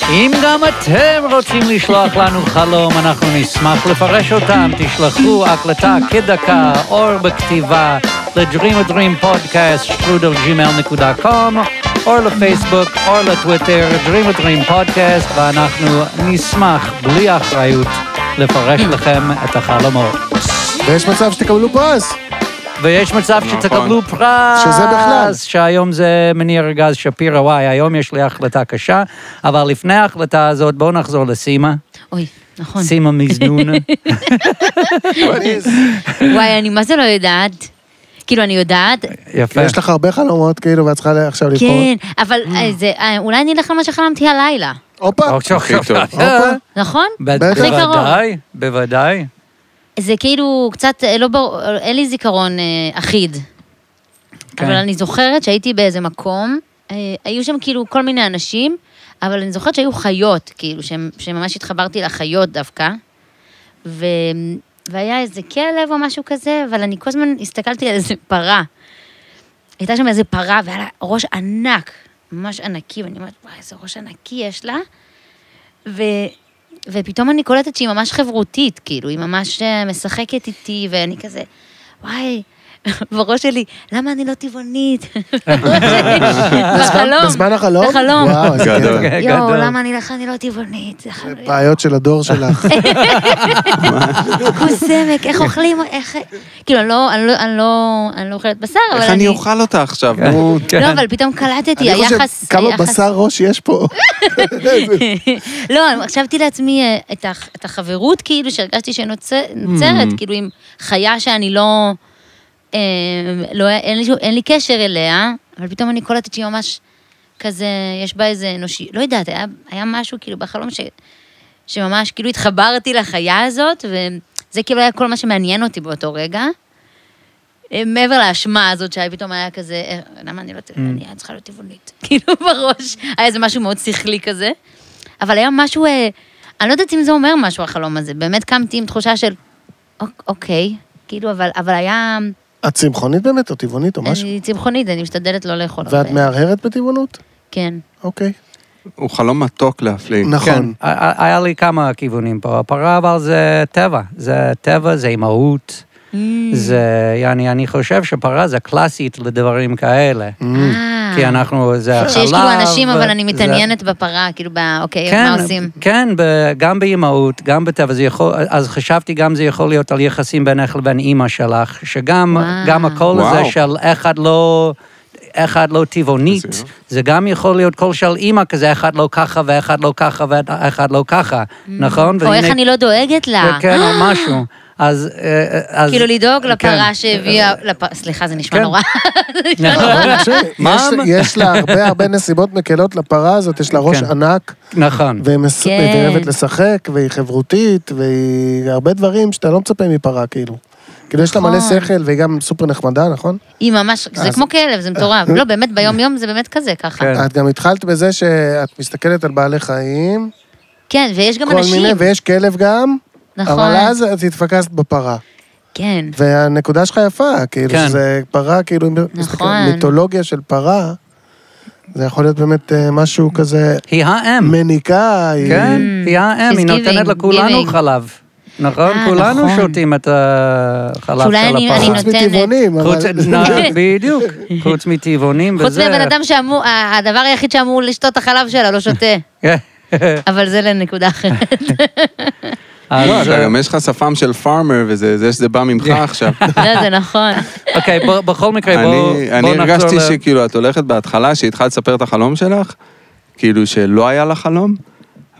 אם גם אתם רוצים לשלוח לנו חלום, אנחנו נשמח לפרש אותם. תשלחו הקלטה כדקה, או בכתיבה, ל-Dream a Dream Podcast, strudelgmail.com, או לפייסבוק, או לטוויטר, Dream a Dream Podcast, ואנחנו נשמח, בלי אחריות, לפרש לכם את החלומות.
ויש מצב שתקבלו פרס.
ויש מצב
נכון.
שתקבלו פרס.
שזה בכלל.
שהיום זה מניר ארגז שפירא, וואי, היום יש לי החלטה קשה, אבל לפני ההחלטה הזאת, בואו נחזור לסימה.
אוי, נכון.
סימה מזנון.
וואי, אני מה זה לא יודעת? כאילו, אני
אה,
יודעת,
יפה.
יש לך הרבה חלומות, כאילו, ואת צריכה עכשיו לבחור.
כן, אבל אה, זה, אה, אולי אני אלך על מה שחלמתי הלילה,
הופה,
אוקיי.
הכי טוב.
נכון?
בד-
הכי
קרוב.
בוודאי, בוודאי.
זה כאילו קצת, אה, לא ברור, אה, אין לי זיכרון אה, אחיד.
כן.
אבל אני זוכרת שהייתי באיזה מקום, אה, היו שם כאילו כל מיני אנשים, אבל אני זוכרת שהיו חיות, כאילו, שהם- שממש התחברתי לחיות דווקא. ו... והיה איזה כלב או משהו כזה, אבל אני כל הזמן הסתכלתי על איזה פרה. הייתה שם איזה פרה, והיה לה ראש ענק, ממש ענקי, ואני אומרת, וואי, איזה ראש ענקי יש לה. ו... ופתאום אני קולטת שהיא ממש חברותית, כאילו, היא ממש אה, משחקת איתי, ואני כזה, וואי, בראש שלי, למה אני לא טבעונית? אה, בחלום.
בזמן החלום?
בחלום.
וואו, איזה
גדול.
קטע.
יואו,
אה, גדול.
למה אני לך, אני לא טבעונית? זה חלום.
בעיות של הדור שלך.
קוסמק, איך אוכלים, איך... כאילו, אני לא- אני לא- אני לא- אני לא אוכלת בשר, אבל אני...
איך אני אוכל אותה עכשיו?
כן.
נו,
לא, אבל פתאום קלטתי,
אני חושב,
היחס...
כמה
היחס-
בשר ראש יש פה.
לא, אני חשבתי לעצמי אה, את הח- את החברות, כאילו, שהרגשתי שנוצרת, כאילו, עם חיה שאני לא... אה, לא- אין לי- אין לי קשר אליה, אבל פתאום אני קולטת שהיא ממש כזה, יש בה איזה אנושי... לא יודעת, היה- היה משהו כאילו בחלום ש... שממש כאילו התחברתי לחיה הזאת, וזה כאילו היה כל מה שמעניין אותי באותו רגע. אה, מעבר לאשמה הזאת שפתאום היה כזה, אה, למה אני לא...
Mm.
אני צריכה להיות טבעונית. כאילו בראש, היה איזה משהו מאוד שכלי כזה. אבל היה משהו, אה, אני לא יודעת אם זה אומר משהו, החלום הזה. באמת קמתי עם תחושה של, "אוק- אוקיי, כאילו, אבל, אבל היה...
את צמחונית באמת, או טבעונית, או משהו?
אני צמחונית, אני משתדלת לא לאכול
ואת מהרהרת בטבעונות?
כן.
אוקיי.
הוא חלום מתוק להפליא.
נכון.
כן, ה- ה- היה לי כמה כיוונים פה. הפרה, אבל זה טבע. זה טבע, זה אימהות.
Mm.
זה, יעני, אני חושב שפרה זה קלאסית לדברים כאלה.
אה,
Mm. כי אנחנו, זה חלב.
שיש כאילו אנשים, אבל אני
זה-
מתעניינת בפרה, כאילו, ב- אוקיי, מה עושים?
כן, ב- גם באימהות, גם בטבע, זה יכול, אז חשבתי גם זה יכול להיות על יחסים בינך לבין אימא שלך, שגם
וואו.
גם הקול הזה
וואו.
של אחד לא... אחד לא טבעונית,
זה-
זה גם יכול להיות קול של אימא כזה, אחד לא ככה ואחד לא ככה ואחד לא ככה, נכון?
Mm. או איך
והנה-
אני לא דואגת לה.
כן, או משהו. אז... אה, אז-
כאילו, לדאוג לפרה
כן.
שהביאה... לפ- סליחה, זה נשמע
כן.
נורא. כן.
נכון,
אני חושב,
מה?
יש- יש לה הרבה הרבה נסיבות מקלות לפרה הזאת, יש לה ראש
כן.
ענק,
נכון.
והיא מס-
כן.
והיא אוהבת לשחק, והיא חברותית, והיא הרבה דברים שאתה לא מצפה מפרה, כאילו. כאילו, יש לה מלא
נכון.
שכל, והיא גם סופר נחמדה, נכון?
היא ממש, זה
אז-
כמו כלב, זה מטורף. לא, באמת, ביום-יום זה באמת כזה, ככה.
כן.
את גם התחלת בזה שאת מסתכלת על בעלי חיים,
כן, ויש גם
כל מיני,
אנשים.
ויש כלב גם,
נכון.
אבל אז את התפקסת בפרה.
כן.
והנקודה שלך יפה, כאילו,
כן.
שזה פרה, כאילו, אם מסתכל
נכון.
על מיתולוגיה של פרה, זה יכול להיות באמת אה, משהו כזה
היא האם.
מניקה, היא...
כן, היא
Mm. She's
האם, היא נותנת
giving,
לכולנו
giving.
חלב. נכון?
אה,
כולנו
נכון.
שותים את החלב
שאולי
של
אני- אני
הפרה.
חוץ
נותנת.
מטבעונים,
חוץ,
אבל...
נ- בדיוק, חוץ מטבעונים
חוץ
וזה.
מהבן אדם שאמור, ה- הדבר היחיד שאמור לשתות את החלב שלה, לא שותה.
כן.
לא,
אבל זה לנקודה אחרת.
אז,
וואי, לא, אתה
אה, כן.
גם יש לך שפם של פארמר וזה, זה שזה בא ממך עכשיו.
לא, זה נכון.
אוקיי, בוא- בכל מקרה,
אני-
בואו
אני
נחזור
הרגשתי
ל-
שכאילו את הולכת בהתחלה, שהתחלת לספר את החלום שלך, כאילו שלא היה לך חלום,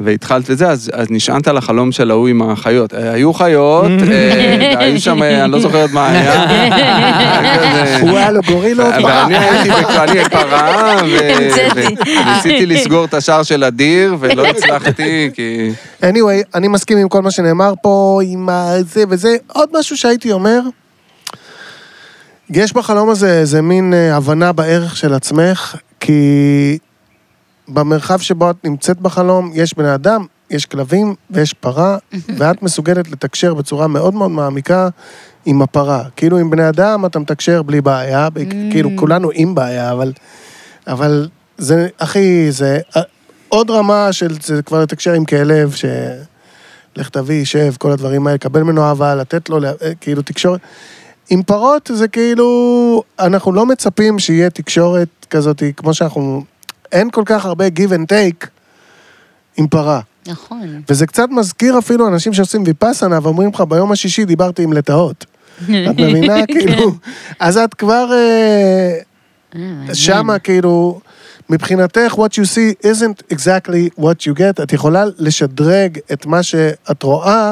והתחלת וזה, אז אז נשענת על החלום של ההוא עם החיות. אה, היו חיות, אה, היו שם, אה, אני לא זוכרת מה היה. כזה-
הוא היה לו כאילו- גורילות, פרה.
ואני הייתי בכללי פרה, ו-
המצאתי.
וניסיתי לסגור את השער של הדיר, ולא הצלחתי, כי...
anyway, אני מסכים עם כל מה שנאמר פה, עם ה- זה וזה. עוד משהו שהייתי אומר, יש בחלום הזה איזה מין אה, הבנה בערך של עצמך, כי במרחב שבו את נמצאת בחלום, יש בני אדם, יש כלבים ויש פרה, ואת מסוגלת לתקשר בצורה מאוד מאוד מעמיקה עם הפרה. כאילו, עם בני אדם אתה מתקשר בלי בעיה, ב- כאילו, כולנו עם בעיה, אבל... אבל זה, אחי, זה אה, עוד רמה של, זה כבר לתקשר עם כלב, ש... לך תביא, שב, כל הדברים האלה, קבל ממנו אהבה, לתת לו, לה- אה, כאילו, תקשורת. עם פרות זה כאילו, אנחנו לא מצפים שיהיה תקשורת כזאת, כמו שאנחנו... אין כל כך הרבה give and take עם פרה.
נכון.
וזה קצת מזכיר אפילו אנשים שעושים ויפאסנה ואומרים לך, ביום השישי דיברתי עם לטאות. את
כן.
מבינה? כאילו, אז את כבר... אה, שמה כאילו, מבחינתך, what you see isn't exactly what you get, את יכולה לשדרג את מה שאת רואה.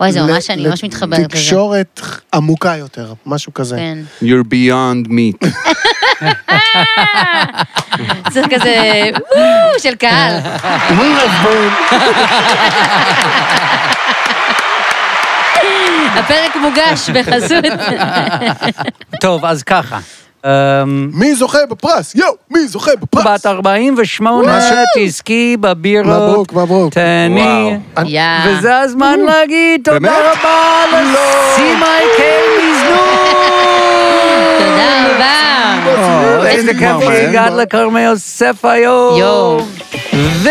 וואי, זה
ל-
ממש, אני ממש מתחברת לזה.
לתקשורת עמוקה יותר, משהו כזה.
כן.
You're beyond meat.
זה כזה, וואו, של קהל. הפרק מוגש בחסות.
טוב, אז ככה. אמ,
מי זוכה בפרס? יואו, מי זוכה בפרס?
בת 48, תזכי בבירות,
מברוק, מברוק.
תהני.
וואו.
יא.
וזה הזמן להגיד
אה. באמת? לא.
תודה רבה לסימה קיי מזנון!
תודה רבה.
איזה כיף שהגעת לכרמי יוסף היום!
יואו.
ו...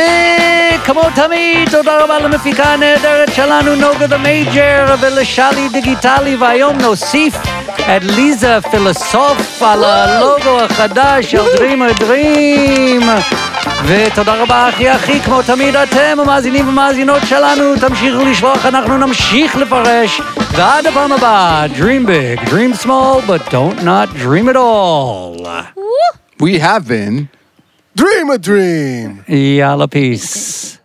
כמו תמיד, תודה רבה למפיקה הנהדרת שלנו, נוגה דה מייג'ר, ולשלי דיגיטלי, והיום נוסיף את ליזה פילוסוף על הלוגו החדש של Dream a Dream. ותודה רבה אחי אחי, כמו תמיד אתם המאזינים והמאזינות שלנו, תמשיכו לשלוח, אנחנו נמשיך לפרש. ועד הפעם הבאה, Dream big, Dream small, but don't not dream at all.
We have been.
Dream a dream!
E יאללה, peace.